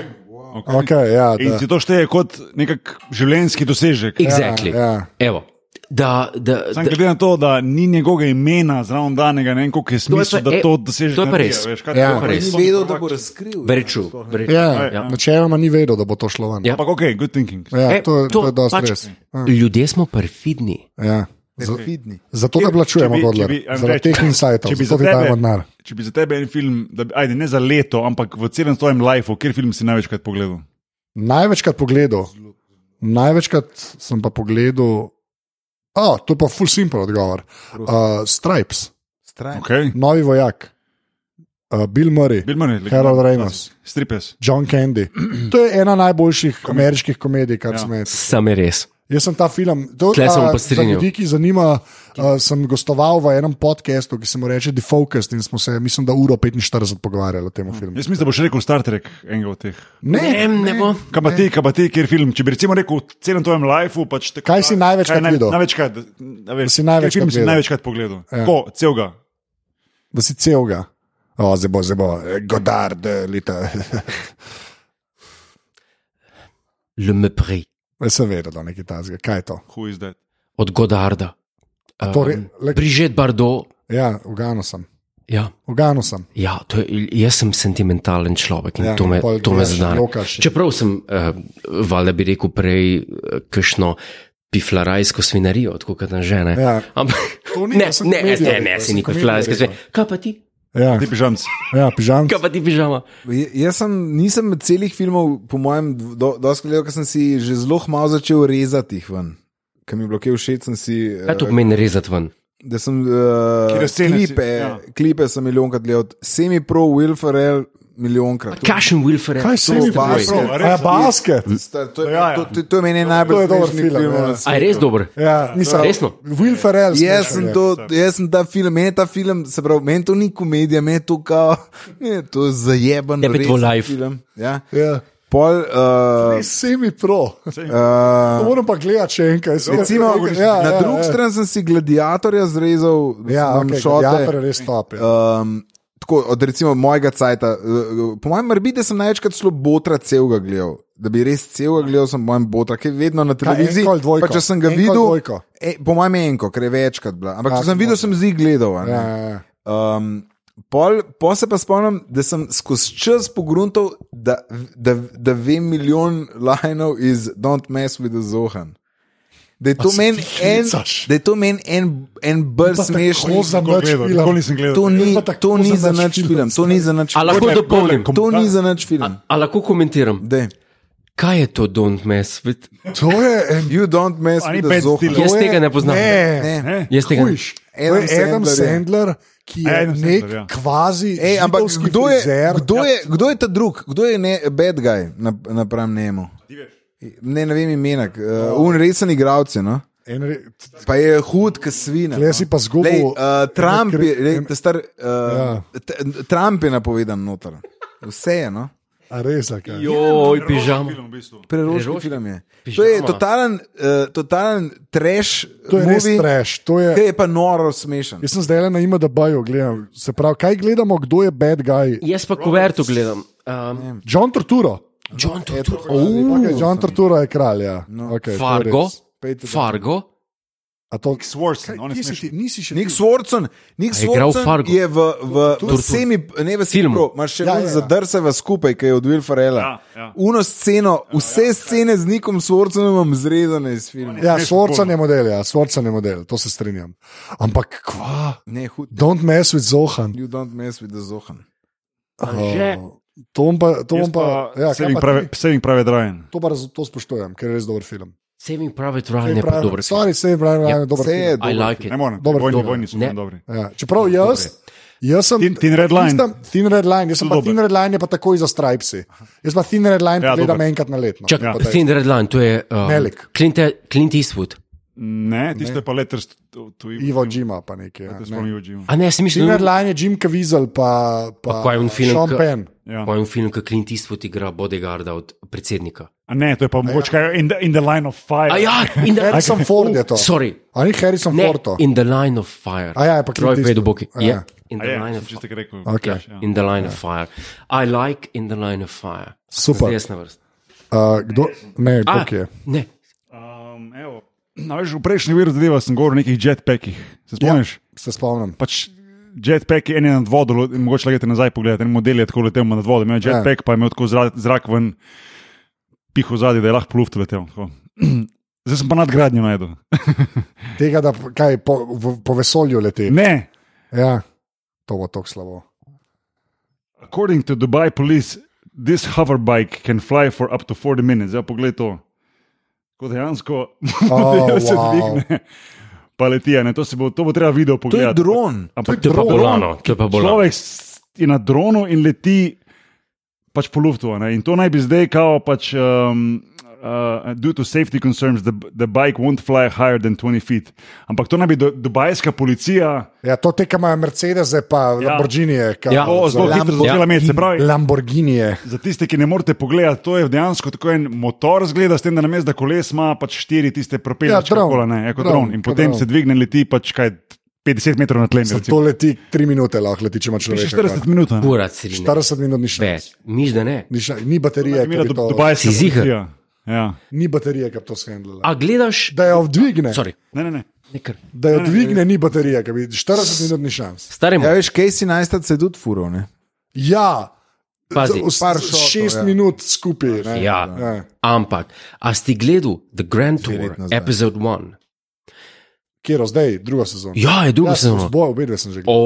Okay, ja, In da, ti to šteje kot nek življenjski dosežek. Exactly. ja. Evo. Da, da, Sam glede na to, da ni njegovega imena zraven danega, ne vem, koliko je smisel, pa- da e, to dosežeš. to je pa energijo, res. veš, kaj Ja. to Pa je res. Ni vedel, da bo razkril. very true. Very true. ja, ja. Načeloma ni vedel, da bo to šlo ven. Ja. Ampak ok, good thinking. Ja, E, to, to je dosti pač, res. Ljudje smo perfidni. Ja. Zavidni. Zato te plačujemo, Godler, zaradi teh insightov, zato ti dajemo denar. Če bi za tebe en film, da, bi- ajde ne za leto, ampak v celem svojem lifeu, kjer film si največkrat pogledal? Največkrat pogledal, največkrat sem pa pogledal, a oh, to je pa full simple odgovor. Uh, Stripes, Stran. Okay. novi vojak, uh, Bill Murray, Bill Murray, Harold legendarni Reynolds. klasik. Stripes. John Candy. To je ena najboljših ameriških komedij, kar Ja. sem jaz. Sam je res. Jaz sem ta film, to Tle se bom a, pa za strinjal. ljudi, ki zanima, uh, sem gostoval v enem podkastu, ki se mu reče Defocused in smo se, mislim, da uro 45 pogovarjali o tem filmu. Jaz mislim, da boš rekel Star Trek, enega od teh. Ne, ne bo. Kaj pa ti, kaj pa ti, kjer film? Če bi recimo rekel v celem tvojem lifeu, pač tako, Kaj si največkrat kaj naj- videl? Največkrat, a veš, Si največkrat kateri film si gledal? največkrat pogledal. Ja. Ko, celega. Da si celega. O, zdaj bo, zdaj bo, eh, Godard, eh, leta. Le Mepri Jaz sem vedel, da je nekaj tazga. Kaj je to? Who is that? od Godarda. torej, le- Prižet Bardo. Ja, ugano sem. Ja, Ugano sem. ja to je, jaz sem sentimentalen človek in Ja, ja, to me, pol to me gledaš, zdane. lokaš. Čeprav sem, uh, valjda bi rekel, prej eh, kakšno piflarajsko svinarijo, tako kot na žene. Ja. Ampak, To ni, ne, to sem ne, ne, komedijo ne, rekel, ne, to si sem nikoli komedijo piflarajske rekel. svinarije. Kaj pa ti? Ja, Ti pižamci. ja pižam. Kaj pa ti pižama? J- Jaz sem, nisem med celih filmov, po mojem, do- dosti gledal, ker sem si že zelo malo začel rezati jih ven. Ker mi je bilo kaj všeč, sem si. eh, Kaj E, Eh, to pomeni rezati ven? Da sem uh, Katere scene si- klipe, ja. ja. klipe sem milijonkrat gledal, semi pro, Will Ferrell, milijonkrat. Kašen Wilfred. Kaj si mi Basket. pravi? A res? Ja, basket. Sta- To je, Ja, ja. to, to, to je meni To je najbolj dober smešnih film, filmov ja. na A je res dober? Ja, nisem. Resno? Will Ferrell. Jaz smešen sem, je. to, jaz sem ta film, meni je ta film, se pravi, meni to ni komedija, meni je to kao, meni je to zajeben, Je pa tvoj life. film. Ja. Ja. Pol, uh, Semi pro. uh, Moram pa gledati še enkaj. Recimo, ja, na drugi strani sem si gladiatorja zrezal, Ja, ja, okay, okay, šote, Gladiator je res top, ja. Um, tako, od recimo mojega cajta, eh, po mojem, morda sem največkrat celo botra celega gledal. Da bi res celega gledal, sem po mojem botra, ki je vedno na televiziji. enko ali dvojko? pa če sem ga Enko ali videl, dvojko? e, po mojem je enko, ker je večkrat bila. Ampak Ja, če sem videl, sem zdaj gledal. a ne. Ja, ja, ja. Um, pol, pol se pa spomnim, da sem skozi čas pogruntov, da, da, da vem milijon lajnov iz Don't Mess with the Zohan. Da je to se meni ti en, hecaš? da je to meni en, en bolj smešen. za Nikoli nič gledal, film. nikoli nisem gledal. To ni, pa tako to ni za za nič nič film. film, to ni za nič A film. lahko Gordon, dopolnim? Gordon, To ni za nič film. A lahko komentiram? Daj. Kaj je to don't mess with? To je en You don't mess A ni with the Ben Zohan. Stiller? Jaz to je- tega ne poznam. Ne, Ne. Jaz tega ne. Hujš. To Adam je Adam Sandler je. Sandler, ki je Adam nek Sandler, ja. kvazi. Ej, ampak židovski kdo je, frizer. Ja. kdo, je, kdo je ta drug, kdo je ne, bad guy na- napram njemu? Ne, ne vem imena, No. uh, un resen igralec. No? En re- Pa je hud, ki svina. no. Tule si pa zgubil- Lej, uh, Trump, je, lej, en- ta star, uh, ja. Trump je napovedan noter. Vse je, no? A res, a kaj? Joj, pižam. Preroški Preroški? film je. Pižama. To je totalen, uh, totalen trash. To je res movie, trash. To je, Ki je pa noro smešen. jaz sem zdaj le na ima, da bajo gledam. Se pravi, kaj gledamo, kdo je bad guy? Jaz pa kuverto gledam. Um, John Torturo. John Turturro. Okay, John Torturo je kralj. Ja. Okay, to je Fargo. res. No. Pejte, da- Fargo. A to- Swarson, on je Kje si ti? smešen. Nisi še Nik Swartzen, Nik A je igral Swartzen Fargo? je v, v, v Tortur. semi, ne v Filmu. filmu, imaš še Ja, ja, ja. ja, ja. zadrseva skupaj, ki je od Will Ferrella. Ja, ja. Uno sceno, vse scene z Nikom Swartzenom imam zrezane iz filma. Ja, Smešen Svorcen bolj. je model, ja, Svorcen je model, to se strinjam. Ampak, kva, Ne, hud. don't mess with Zohan. You don't mess with the Zohan. Anže. Oh, to bom pa, to bom pa, ja, kaj pa Saving prave, ti? saving prave Drajen. to pa raz, to spoštujem, ker je res dober film. Saving Private Ryan je pa dober. film. Ja. Stvari se jim pravi, da je dober Se je film. Ja. I like it. Ne morem, Dobro, vojni, dobro. vojni so Ne. tam dobri. Ja, čeprav jaz, jaz sem. Thin- Thin Red Line. Tistem, thin Red Line, jaz sem pa Dober. Thin Red Line, je pa takoj za Stripesi. Jaz pa Thin Red Line Ja, ja, gledam dober. enkrat na leto. Čakaj, pa ja. daj. Thin Red Line, to je um, Melik. Clint, Clint Eastwood. Ne, tisto je pa letters to to Ivo Jima pa nekaj. Ja, To ne. smo mi v Jimu. A ne, sem Thin mislil, Red Line je Jim Caviezel pa, pa, Pa kaj je on film, Sean ka- Penn. Ja. Pojem film, ki Clint Eastwood igra bodyguarda od predsednika. A Ne, ja. to je pa mogoče kaj in the, in the line of fire. A ja, in the, Harrison Ford je to. sorry. Ali Harrison Ne, Ford to? in the line of fire. A ja, je pa Clint Troy Eastwood. Pedoboki. A ja. Ja, in A the je, line of sem čiste rekel. Okej. Ja. In the line of fire. I like in the line of fire. Super. Zdaj Jaz na vrst. Uh, kdo? Ne, A, ja. kdo je? Ne. Um, evo, na, veš, v prejšnji veri zadeva sem govoril o nekih jetpackih. Ja. Se spomniš? Se spomnim. Pač jetpack je en je nad vodo, lo- in mogoče lagate nazaj pogledati. En model je tako letel nad vodo, Ja. imel je jetpack, pa je imel tako zrak, zrak ven, piho zadaj, da je lahko pluft letel. tako. Zdaj sem pa nadgradnjo najdel. Tega, da p- kaj po, v, po vesolju leti. Ne, Ja, to bo tako slabo. according to Dubai police, this hoverbike can fly for up to 40 minutes. Zdaj pogled to. Ko dejansko Oh, model se wow. dvigne, pa leti. a Ne? To, se bo, to bo treba video To je pogledati. dron. Ampak To je pa dron, bolano, to je pa bolano. Človek s- je na dronu in leti pač po luftu. a ne. In to naj bi zdaj, kao pač, um, uh, due to safety concerns, the, the bike won't fly higher than 20 feet. Ampak to naj bi do, dubajska policija Ja, to te, ki imajo Mercedes, pa ja. Lamborghini. Ja. to zelo Lam- hitro ja. začela imeti. Se pravi, Lamborghini je. Za tiste, ki ne morete pogledati, to je dejansko tako en motor, zgleda, s tem, da na mestu koles ima pač štiri tiste propeljače, Ja, dron. kako ne, kot Dron, dron. In kot potem dron. se dvigne in leti pač kaj 50 metrov na tlemi. To leti tri minute, lahko leti, če ima človek. Še 40 minut. a ne. Kurat si ne. 40 minut ni šlo. Več. Miš, da ne. Ni, šla- ni baterije, ki Mila bi do, to, Si Dubajska ziher? policija. Ja. ni baterije, ki bi to shendlala. A gledaš? Da jo dvigne, Sorry. Ne, ne, ne. Nekar. da jo dvigne, ni baterije, ki bi 40 minut ni šans. Staremo. Ja, veš, Casey Neistat se je tudi furov. ne? Ja, Pazi. z- z- Par šotov, 6 ja. minut skupaj. ne. Ja. Ja. Ampak, a si gledal The Grand Tour, let nazaj. epizode 1? Kjer zdaj, druga sezona. Ja, je druga Ja, sezona. Zboj, obedve sem že gledal.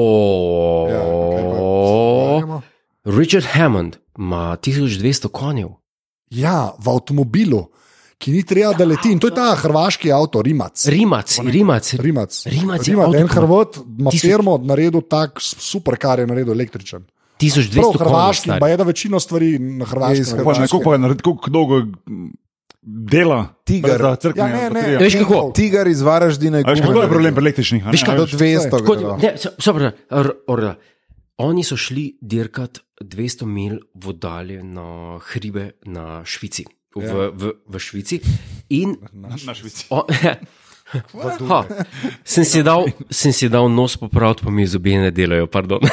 Ja, kaj pa Oh, pogovarjamo? Richard Hammond ima 1200 konjev. Ja, v avtomobilu, ki ni treba, da leti. In to je ta hrvaški avto, Rimac. Rimac, Rimac. Rimac. Rimac je Rimac en avto, ki ima Hrvat, ima tisoč- firmo, naredil tak super, kar je naredil električen. 1200 Prav, konjev. hrvaški, pa stari. je da večino stvari na Je iz hrvaškem. Pa naredi. ne, kako pa je narediti, kako dolgo mm, dela Tiger. Da crkne, Ja, ne, ne. baterija. Veš kako? Enkov. Tigar iz Varaždina je A veš, kako je kupil. problem pri električnih? a ne, Veš kaj? a Do veš? 200. Tako, gredo. ne, so- so prav, r- orla. Oni so šli dirkat 200 mil v dalje na hribe na Švici, v, ja. v, v Švici. In Na Švici. o, ha, sem, si dal, sem si dal nos popraviti, pa mi zobje ne delajo. pardon.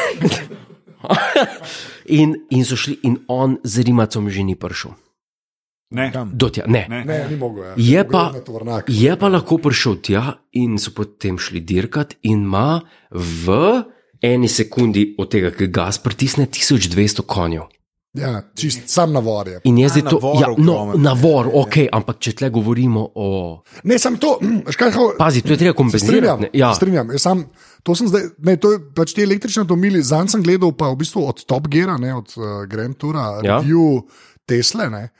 in, in so šli, in on z Rimacom že ni prišel. Ne, Do tja, ne. ne. Ne, ni mogel. Ja. Je Mogel pa, na tovornjak. je pa lahko prišel tja in so potem šli dirkat, in ima v eni sekundi od tega, ki gas pritisne, 1200 konjev. Ja, čist, sam navor je. In jaz zdaj A, to, navor ja, no, ogromno. navor, ok, ampak če tle govorimo o. Ne, sem to, škaj ho. Pazi, to je treba Se strinjam, kompenzirati. ne, Ja, se strinjam. Jaz Sam, to sem zdaj, ne, to je pač ti električni avtomobili. Zanj sem gledal pa v bistvu od Top Geara, ne od uh, Grand Tura, Ja. ja. review Tesle. Ne.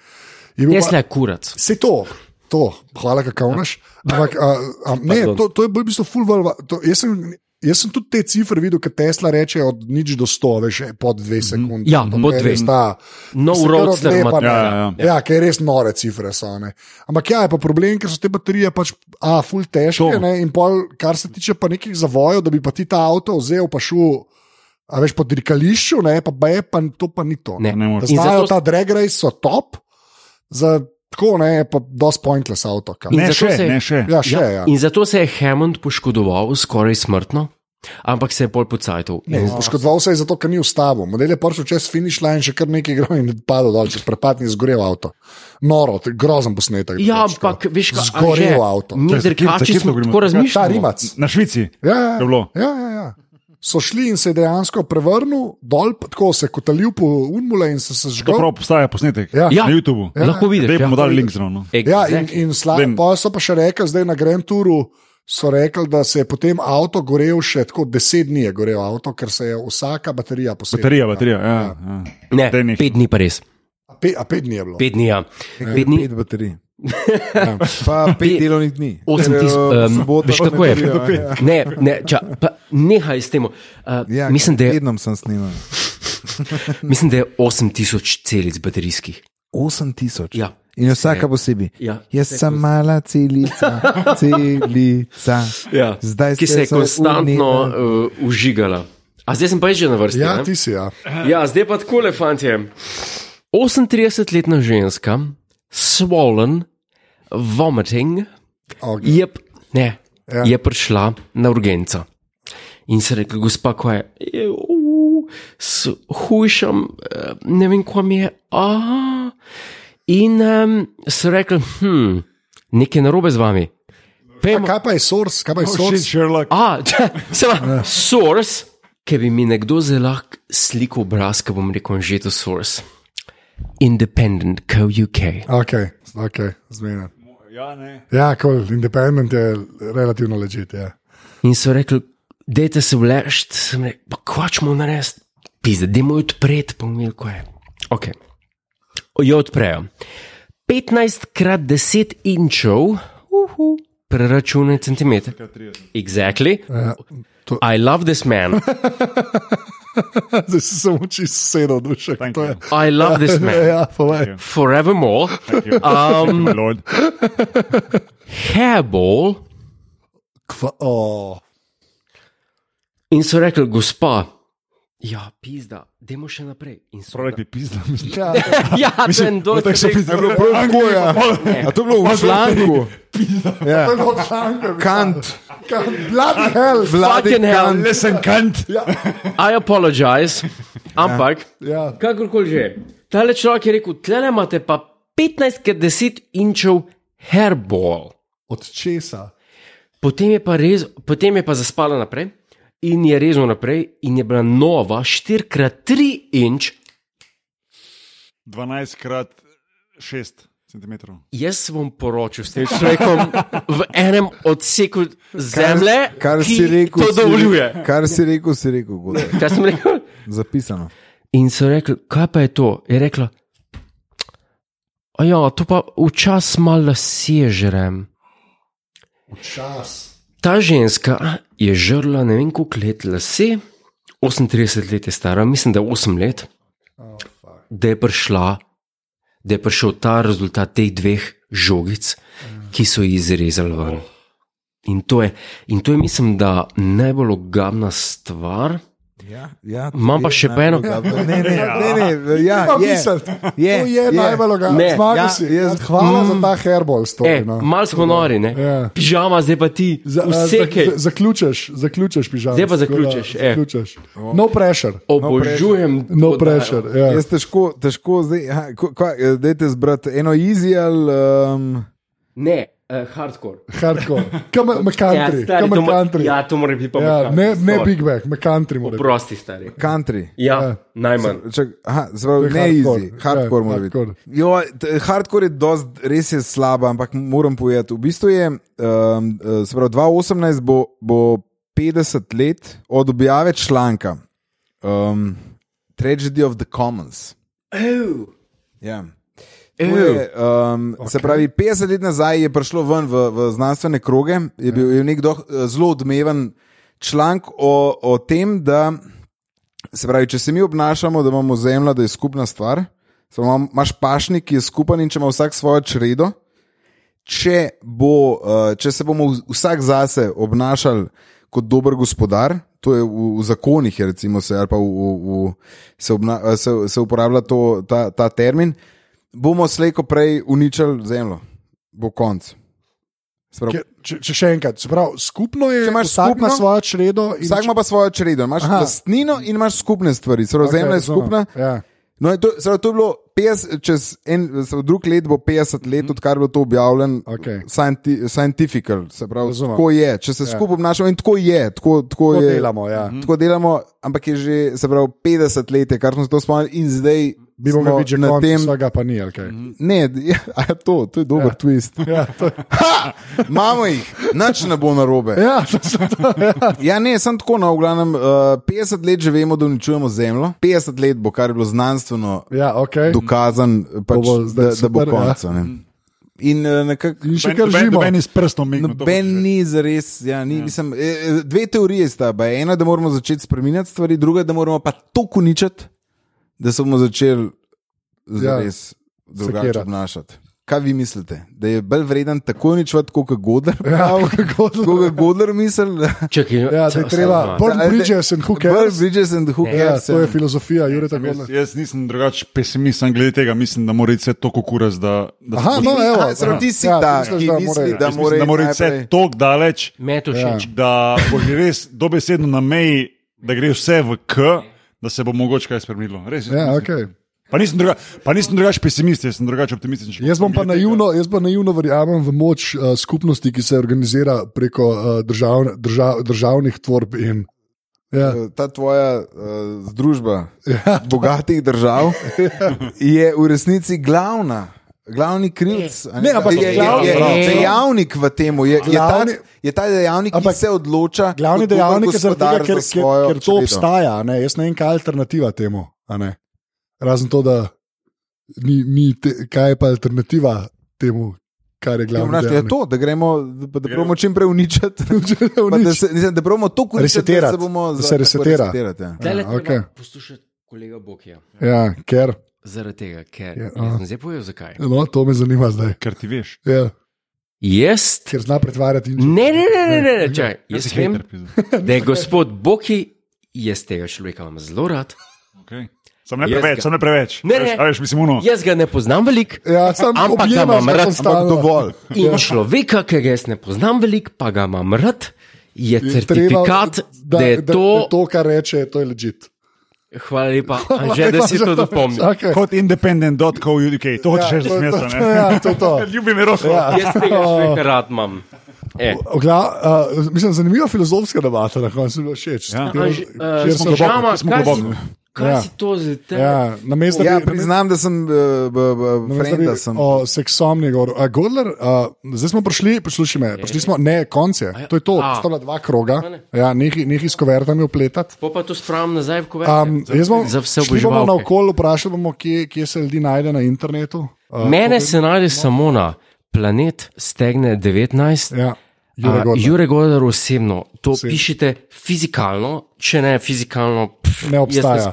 Je bil pa- Tesla je kurac. Se to, to, hvala, kakavnaš. Ampak a, a, ne, Pardon. to, to je bolj v bistvu full valva. To, jaz, sem, jaz sem tudi te cifre videl, ki Tesla reče od nič do sto, veš, pod dve sekunde. Ja, pod dve. Sta, No, roadster ima- Ja, ja, ja, ja. ja. ja, ker res nore cifre so. Ne. Ampak ja, je pa problem, ker so te baterije pač, a, full težke. To. Ne, in pol, kar se tiče pa nekih zavojev, da bi pa ti ta avto vzel, pa šel, a veš, po dirkališču, ne, pa B, pa to pa ni to. Ne. Ne moreš. In Znajo zato- zato... ta drag race, so top, za tako ne, pa dosti pointless avto. kaj. In Ne, zato še, se- ne, še. Ja, še, ja. In zato se je Hammond poškodoval skoraj smrtno, ampak se je pol pocajtal. Ne, poškodoval se je zato, ker ni ustavil. Model je prišel čez finish line, še kar nekaj igral in padel dol, čez prepad in zgorel avto. Noro, to je grozen posnetek. drugače, Ja, ampak tako. veš, kaj Zgorel avto. Mi, Čakaj, za kje- za drkači, kje smo smo govorili? tako Ja, Ta razmišljali. rimac. Na Švici. Ja, Je bilo. ja, ja, ja. So šli in se je dejansko prevrnil dol, pa tako se je kotalil po unmule in se je To žgal. prav postaja posnetek Ja. na YouTubu. Ja, lahko vidiš. Zdaj Ja. bomo dali link zraven. no. Ja, in, Exactly. in sla, Vem. pa so pa še rekli, zdaj na Grand Touru so rekli, da se je potem avto gorel še tako deset dni, je gorel avto, ker se je vsaka baterija posebej. Baterija, baterija. Ja, ja. Ne, Daj nekaj. pet dni pa res. A, pe, a pet dni je bilo. Pet dni, ja. Pet dni, Pet baterij. Pa pet delovnih dni. osem Ker, tisoč. eh, Um, sobota, veš, kako je? nedelja, ja. Ne, ne, ča, pa, nehaj s tem. Uh, Ja, mislim, da je, Tednom sem snimal. mislim, da je 8000 celic baterijskih. 8000. Ja. In vsaka posebej. Ja. Jaz sem mala celica, celica. Ja. Zdaj Ki se ste je se konstantno unila. uh, užigala. A zdaj sem pa jaz že na vrsti. Ja, ne? ti si, ja. Ja, zdaj pa tako, fantje. 38-letna ženska, swollen, vomiting, Okay. je, p- ne, ja. Ja. je prišla na urgenco. In se rekla, gospa, ko je, "Je, u, s hujšem, eh, ne vem, kam je. A. In um, se rekla, hm, nekaj je narobe z vami. Pejmo, Kaj pa je source, kaj pa je Shit, source? Sherlock. A, samo source, ki bi mi nekdo zelo lahko slikal obraz, ki bom rekel, že to source. Independent, co UK. Okay, okay, zmena. Ja, ne. Ja, kol, cool. independent je relativno ležit. Ja. In so rekli, dajte se vleč, sem rekel, pa kvačmo narediti, pizde, dajmo jo odpreti, pa umil, ko je. Ok. Jo odprejo. 15 krat 10 inčev, uhu, preračunaj centimeter. Exactly. to- I love this man. Zdaj si samo čisto sedel dušek. Thank To je- I love this man. Ja, povej. Forevermore. Um, My lord. hairball Kva, oh. in so rekli, gospa, ja, pizda, dajmo še naprej. In so Prav rekli, pizda. ja, Ja, ten dol, No, Tako se ki pizda, bilo prav tako, ja. A to je bilo v članku. Ja. Kant, Bloody hell. vladi Fucking hell. Kant. Lesen kant. I apologize, ampak, Ja. kakorkoli že, tale človek je rekel, tle imate pa 15-10 inčev hairball. Od česa? Potem je, pa rez, potem je pa zaspala naprej in je rezno naprej, in je bila nova 4x3 inč. 12 krat 6 centimetrov. Jaz se bom poročil s tem človekom v enem odseku zemlje, kar ki si rekel, to si- dovoljuje. Kar si rekel, si rekel, Godo. Kaj sem rekel? zapisano. In so rekli, kaj pa je to? Je rekla, "A ja, to pa včasih malo sežerem. Čas. Ta ženska je žrla ne vem koliko let lase, 38 let je stara, mislim, da 8 let, Oh, fuck. da je prišla, da je prišel ta rezultat teh dveh žogic, Mm. ki so jih izrezali ven. In to je, in to je mislim, da najbolj ogabna stvar, Ja, ja, to Imam pa je še pa eno- najbolj dobro. Ne, ne, ne, ne, ja, Ima je, misliti. je, to je, mm. je najbolj Ne. logično. Zmagal Ja, si. jaz- Hvala za ta herbol story. E, no. Mal smo nori, ne? Ja. Pižama, zdaj pa ti. Za, a, za, Vseke. za, zaključeš, zaključeš, pižam. Zdaj pa zaključiš, eh. zaključeš. No pressure. Obožujem. No to dajo. pressure. Ja. Jaz težko, težko zdaj, aha, ko- kva- dajte zbrati eno easy ali. Um, Ne, eh, hardcore. Hardcore. Kam Ja, country. stari, Kam to, mo- country. ja, to mora biti pa Ja, McCartney, ne, ne sorry. Big Mac, McCountry mora biti. Prosti, stari. country. Ja, Ja. najmanj. Čak, aha, zelo To je ne hardcore. easy, hardcore Ja, mora biti. hardcore. Jo, t- Hardcore je dost, res je slaba, ampak moram povedati. V bistvu je, um, se pravi, 2018 bo, bo 50 let od objave članka um, Tragedy of the Commons. Ew. Ja. To Je, um, okay. Se pravi, 50 let nazaj je prišlo ven v, v znanstvene kroge, je bil je nek doh, zelo odmeven članek o, o tem, da se pravi, če se mi obnašamo, da imamo zemljo, da je skupna stvar, samo imam- imaš pašnik, ki je skupen in če ima vsak svojo čredo. Če, bo, uh, če se bomo v- vsak zase obnašali kot dober gospodar, to je v, v zakonih, je recimo, se, ali pa v, v, v, se, obna, eh, se, se uporablja to, ta, ta termin, bomo slejko prej uničili zemljo, bo konc. Se pravi, Ker- Če, če še enkrat, se pravi, skupno je, Če imaš vsak ima skupno- svojo čredo in Vsak ima pa svojo čredo, imaš Aha. lastnino in imaš skupne stvari, zelo Ok, okay, zemlja je razumem. skupna. Ja. No, in to, zdaj, to je bilo 50, čez en, zdaj, drug let bo 50 let, odkar je bilo to objavljeno, Mhm. Okej. scienti, scientific, se pravi, Razumem. tako je, če se ja. skupaj obnašamo in tako je. Tako, tako To je delamo, ja. Tako delamo, ampak je že se pravi, 50 let, je, kar smo se to spomnili, in zdaj Bi smo mogel biti že na konec, tem. vsega pa ni. ali kaj. Ne, ja, a to, to je dober ja. twist. Ja, to, Ha! Imamo jih, nič ne bo narobe. ja, to, so to, ja. Ja, ne, sem tako na oglanem. Uh, 50 let že vemo, da uničujemo zemljo. 50 let bo, kar je bilo znanstveno ja okay. dokazano, pač, bo zdaj da, da bo super, ja. konec. Ja. In uh, nekako. In še kar živimo. Meni s prstom migne. No, Ben ni zares. Ja, ni, ja. Mislim, eh, eh, dve teorije sta. ba, Ena je, da moramo začeti spremenjati stvari, druga je, da moramo pa to uničiti, da se bomo začeli zares ja. drugače Sekirati. obnašati. Kaj vi mislite? Da je bolj vreden tako uničevati, kot je Godler? Ja, kako Kot je Godler misli? Čakaj, Ja, da je treba. Burn Da, bridges and who Bolj cares? Bridges and who Ja, cares? to je ja. filozofija, Jure tako. no. Ja, Jaz, jaz nisem drugačen pesimist, samo glede tega mislim, da mora iti vse tako kuras, da, da, Aha, se bo- no, evo. Aha, se pravi, ti si Ja, ta, misliš, ki da misli, more- da jaz mislim, da mora iti vse najprej- tako daleč, Meto Ja, všeč. da bo že res dobesedno na meji, da gre vse v K, da se bo mogoče kaj spremenilo. Res, jaz Ja, mislim. okay. Pa nisem druga- pa nisem drugačen pesimist, jaz sem drugačen optimist. Jaz bom pa naivno, jaz pa naivno verjamem v moč uh, skupnosti, ki se organizira preko uh, držav, držav, državnih tvorb in. Ja, Ta tvoja uh, združba ja. bogatih držav je v resnici glavna. Glavni krivc a Ne, ampak je, je, glavni- je, je dejavnik v tem, je, je, ta, Glavni- je ta dejavnik, ki Ampak se odloča. glavni kot dober dejavnik je zaradi tega, gospodar ker, za ker, svojo ker to čredo. obstaja. Ne? Jaz ne vem, kaj je alternativa temu. a ne. Razen to, da ni, ni te, kaj je pa alternativa temu, kar je Ja, glavni vnaš, je dejavnik. to, da gremo, da, da gremo čim prej uničiti. Pa Da Unič. se, mislim, da probamo to uničiti, da se Resetirati, bomo da se za- tako resetira. resetirati, ja. Tele Ja, treba okej. poslušati kolega Bokija. Ja, ker. Zaradi tega, ker Ja, ja, aha. jaz sem zdaj povedal, zakaj. No, to me zanima zdaj. Ker ti veš. Ja, Jaz ker zna pretvarjati in Ne, ne, ne, ne, ne, ne. Čaj, Jaz jaz si vem, hater, pizda. da je gospod Boki, jaz tega človeka imam zelo rad. Okay. Sam ne Jaz preveč, ga- sam ne preveč. Ne, Ja. A veš- ne. A veš, mislim, uno. Jaz ga ne poznam veliko Ja, sam Ampak ga objemaš imam ga rad, konstantno. Ampak dovolj. in človeka, ki ga jaz ne poznam veliko, pa ga imam rad, je certifikat, da, da je to. to, kar reče, to je ležit. Hvala lepa, Anže, da si to dopomnil. Okay. Kot independent.co.uk, to hočeš reči Ja, to- z mesta. to- ja, to je to. Ljubim roko. Ja. Jaz tega človeka rad imam. E. Ogla, uh, mislim, zanimiva filozofska debata, na koncu mi je bilo všeč. Ja. Ker- Anže, ker eh, sem globoko, Žama, smo kaj si- globoko. Kaj Ja. si to zdaj? te- Ja, na mesto, Ja, bi- priznam, da sem, namesto, da bi frenda sem. O seksomni govor. A, Godler, a, zdaj smo prišli, poslušaj me, prišli smo, ne, konce, to je to, A. ostala dva kroga, A ne. ja, nekaj, nekaj s kovertami upletati. Po pa to spravim nazaj, ko Um, jaz bom, Ja, Za vse šli bomo oboževalke. na okolje, vprašali bomo, kje, kje se ljudi najde na internetu. Uh, Mene se najde samo na planet Stegne 19. Ja, Jure A, Godler. Jure Godler osebno, to Osebno. Oseb. pišite fizikalno, če ne fizikalno, pff, jaz obstaja.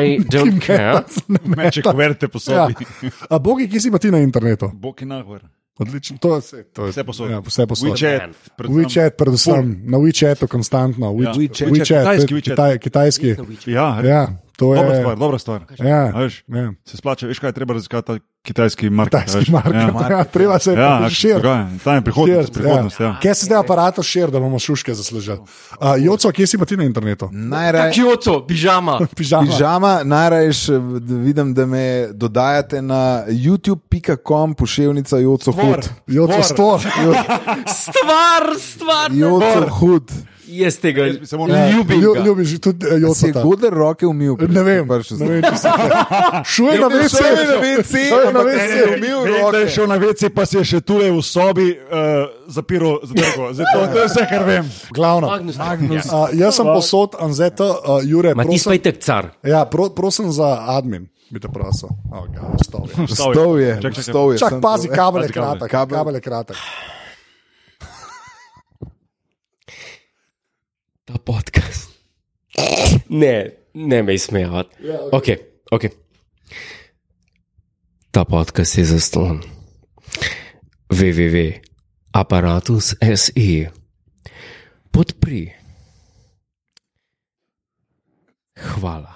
I don't care. Meče, ko verjete po Ja. sobi. Ja. A bogi, kje si pa ti na internetu? Bog je nahvar. Odlično, to je vse. To je, Vse posod. Ja, vse posod. WeChat, predvsem. WeChat, predvsem, na WeChatu konstantno. Ja. WeChat, WeChat, WeChat, to kitajski je WeChat. Kitaj, kitajski. Ja, res. Ja, to je Dobra stvar, dobra stvar. Ja, A veš, ja. Se splača, veš kaj je treba raziskati, ta kitajski market. veš. Kitajski market. Ja. Ja. Treba se Ja, širiti. dogaja. tam je prihodnost. prihodnost ja. Kje se zdaj aparato širi, da bomo šuške zaslužili? Uh, Joco, kje si pa ti na internetu? Najraje. Kyoto, pižama. Pižama. Pižama, najraješ eh, vidim, da me dodajate na youtube.com, pošiljka Joco Hud. Joco stor. Stvar, stvar. Joco Hud. Jaz tega Jaz bi se moral- ne Ja. ljubim. Lju- ga. Ljubiš tudi eh, Si je Jocota. Godler roke umil? pri- Ne vem, prišel ne Pač sem. vem, če se šuje na Šel vece. je na WC, je na ampak WC. si je umil Vem, da je roke. šel na vece, pa si je še tule v sobi uh, zapiral zadrgo. Zdaj, to, to je vse, kar vem. Glavno. Magnus. Magnus. Uh, jaz sem posod, Anzeta, uh, Jure, Ma ti prosim, spaj tek car. ja, pro, prosim za admin, bi te prosil. Oh, God, vstal je. Stov je, Čak, čak, čak. stov je. Čak, sem pazi, to- kabel je Pazi, kabel. kratek. Kabel. Kabel je kratek. Ta podcast. Ne, ne me izmejavati. Ok, ok. Ta podcast je zaslon. www.apparatus.se Podpri. Hvala.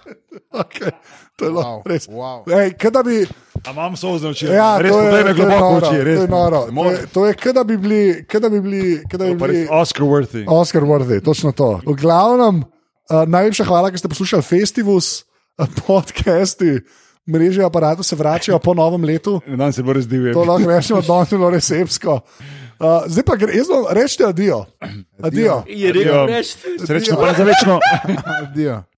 Okay. To je wow. res. wow. Ej, kaj da bi, A imam solze oči. ja, res to je, potem to je je globoko noro, oči. Res, to je noro. ne To morem. je, to je, kaj da bi bili, kaj da bi bili, kaj da bi Pa res bili Oscar worthy. Oscar worthy, točno to. V glavnem, uh, najlepša hvala, ker ste poslušali Festivus, uh, podcasti, mreže aparatov se vračajo po novem letu. Dan se bo res divil. To lahko rečemo, da je bilo res epsko. Uh, zdaj pa gre, jaz vam rečem, adijo. Adijo. Je rekel, rekel, Adijo. reči. Srečno, pa za Ja. večno. Adijo.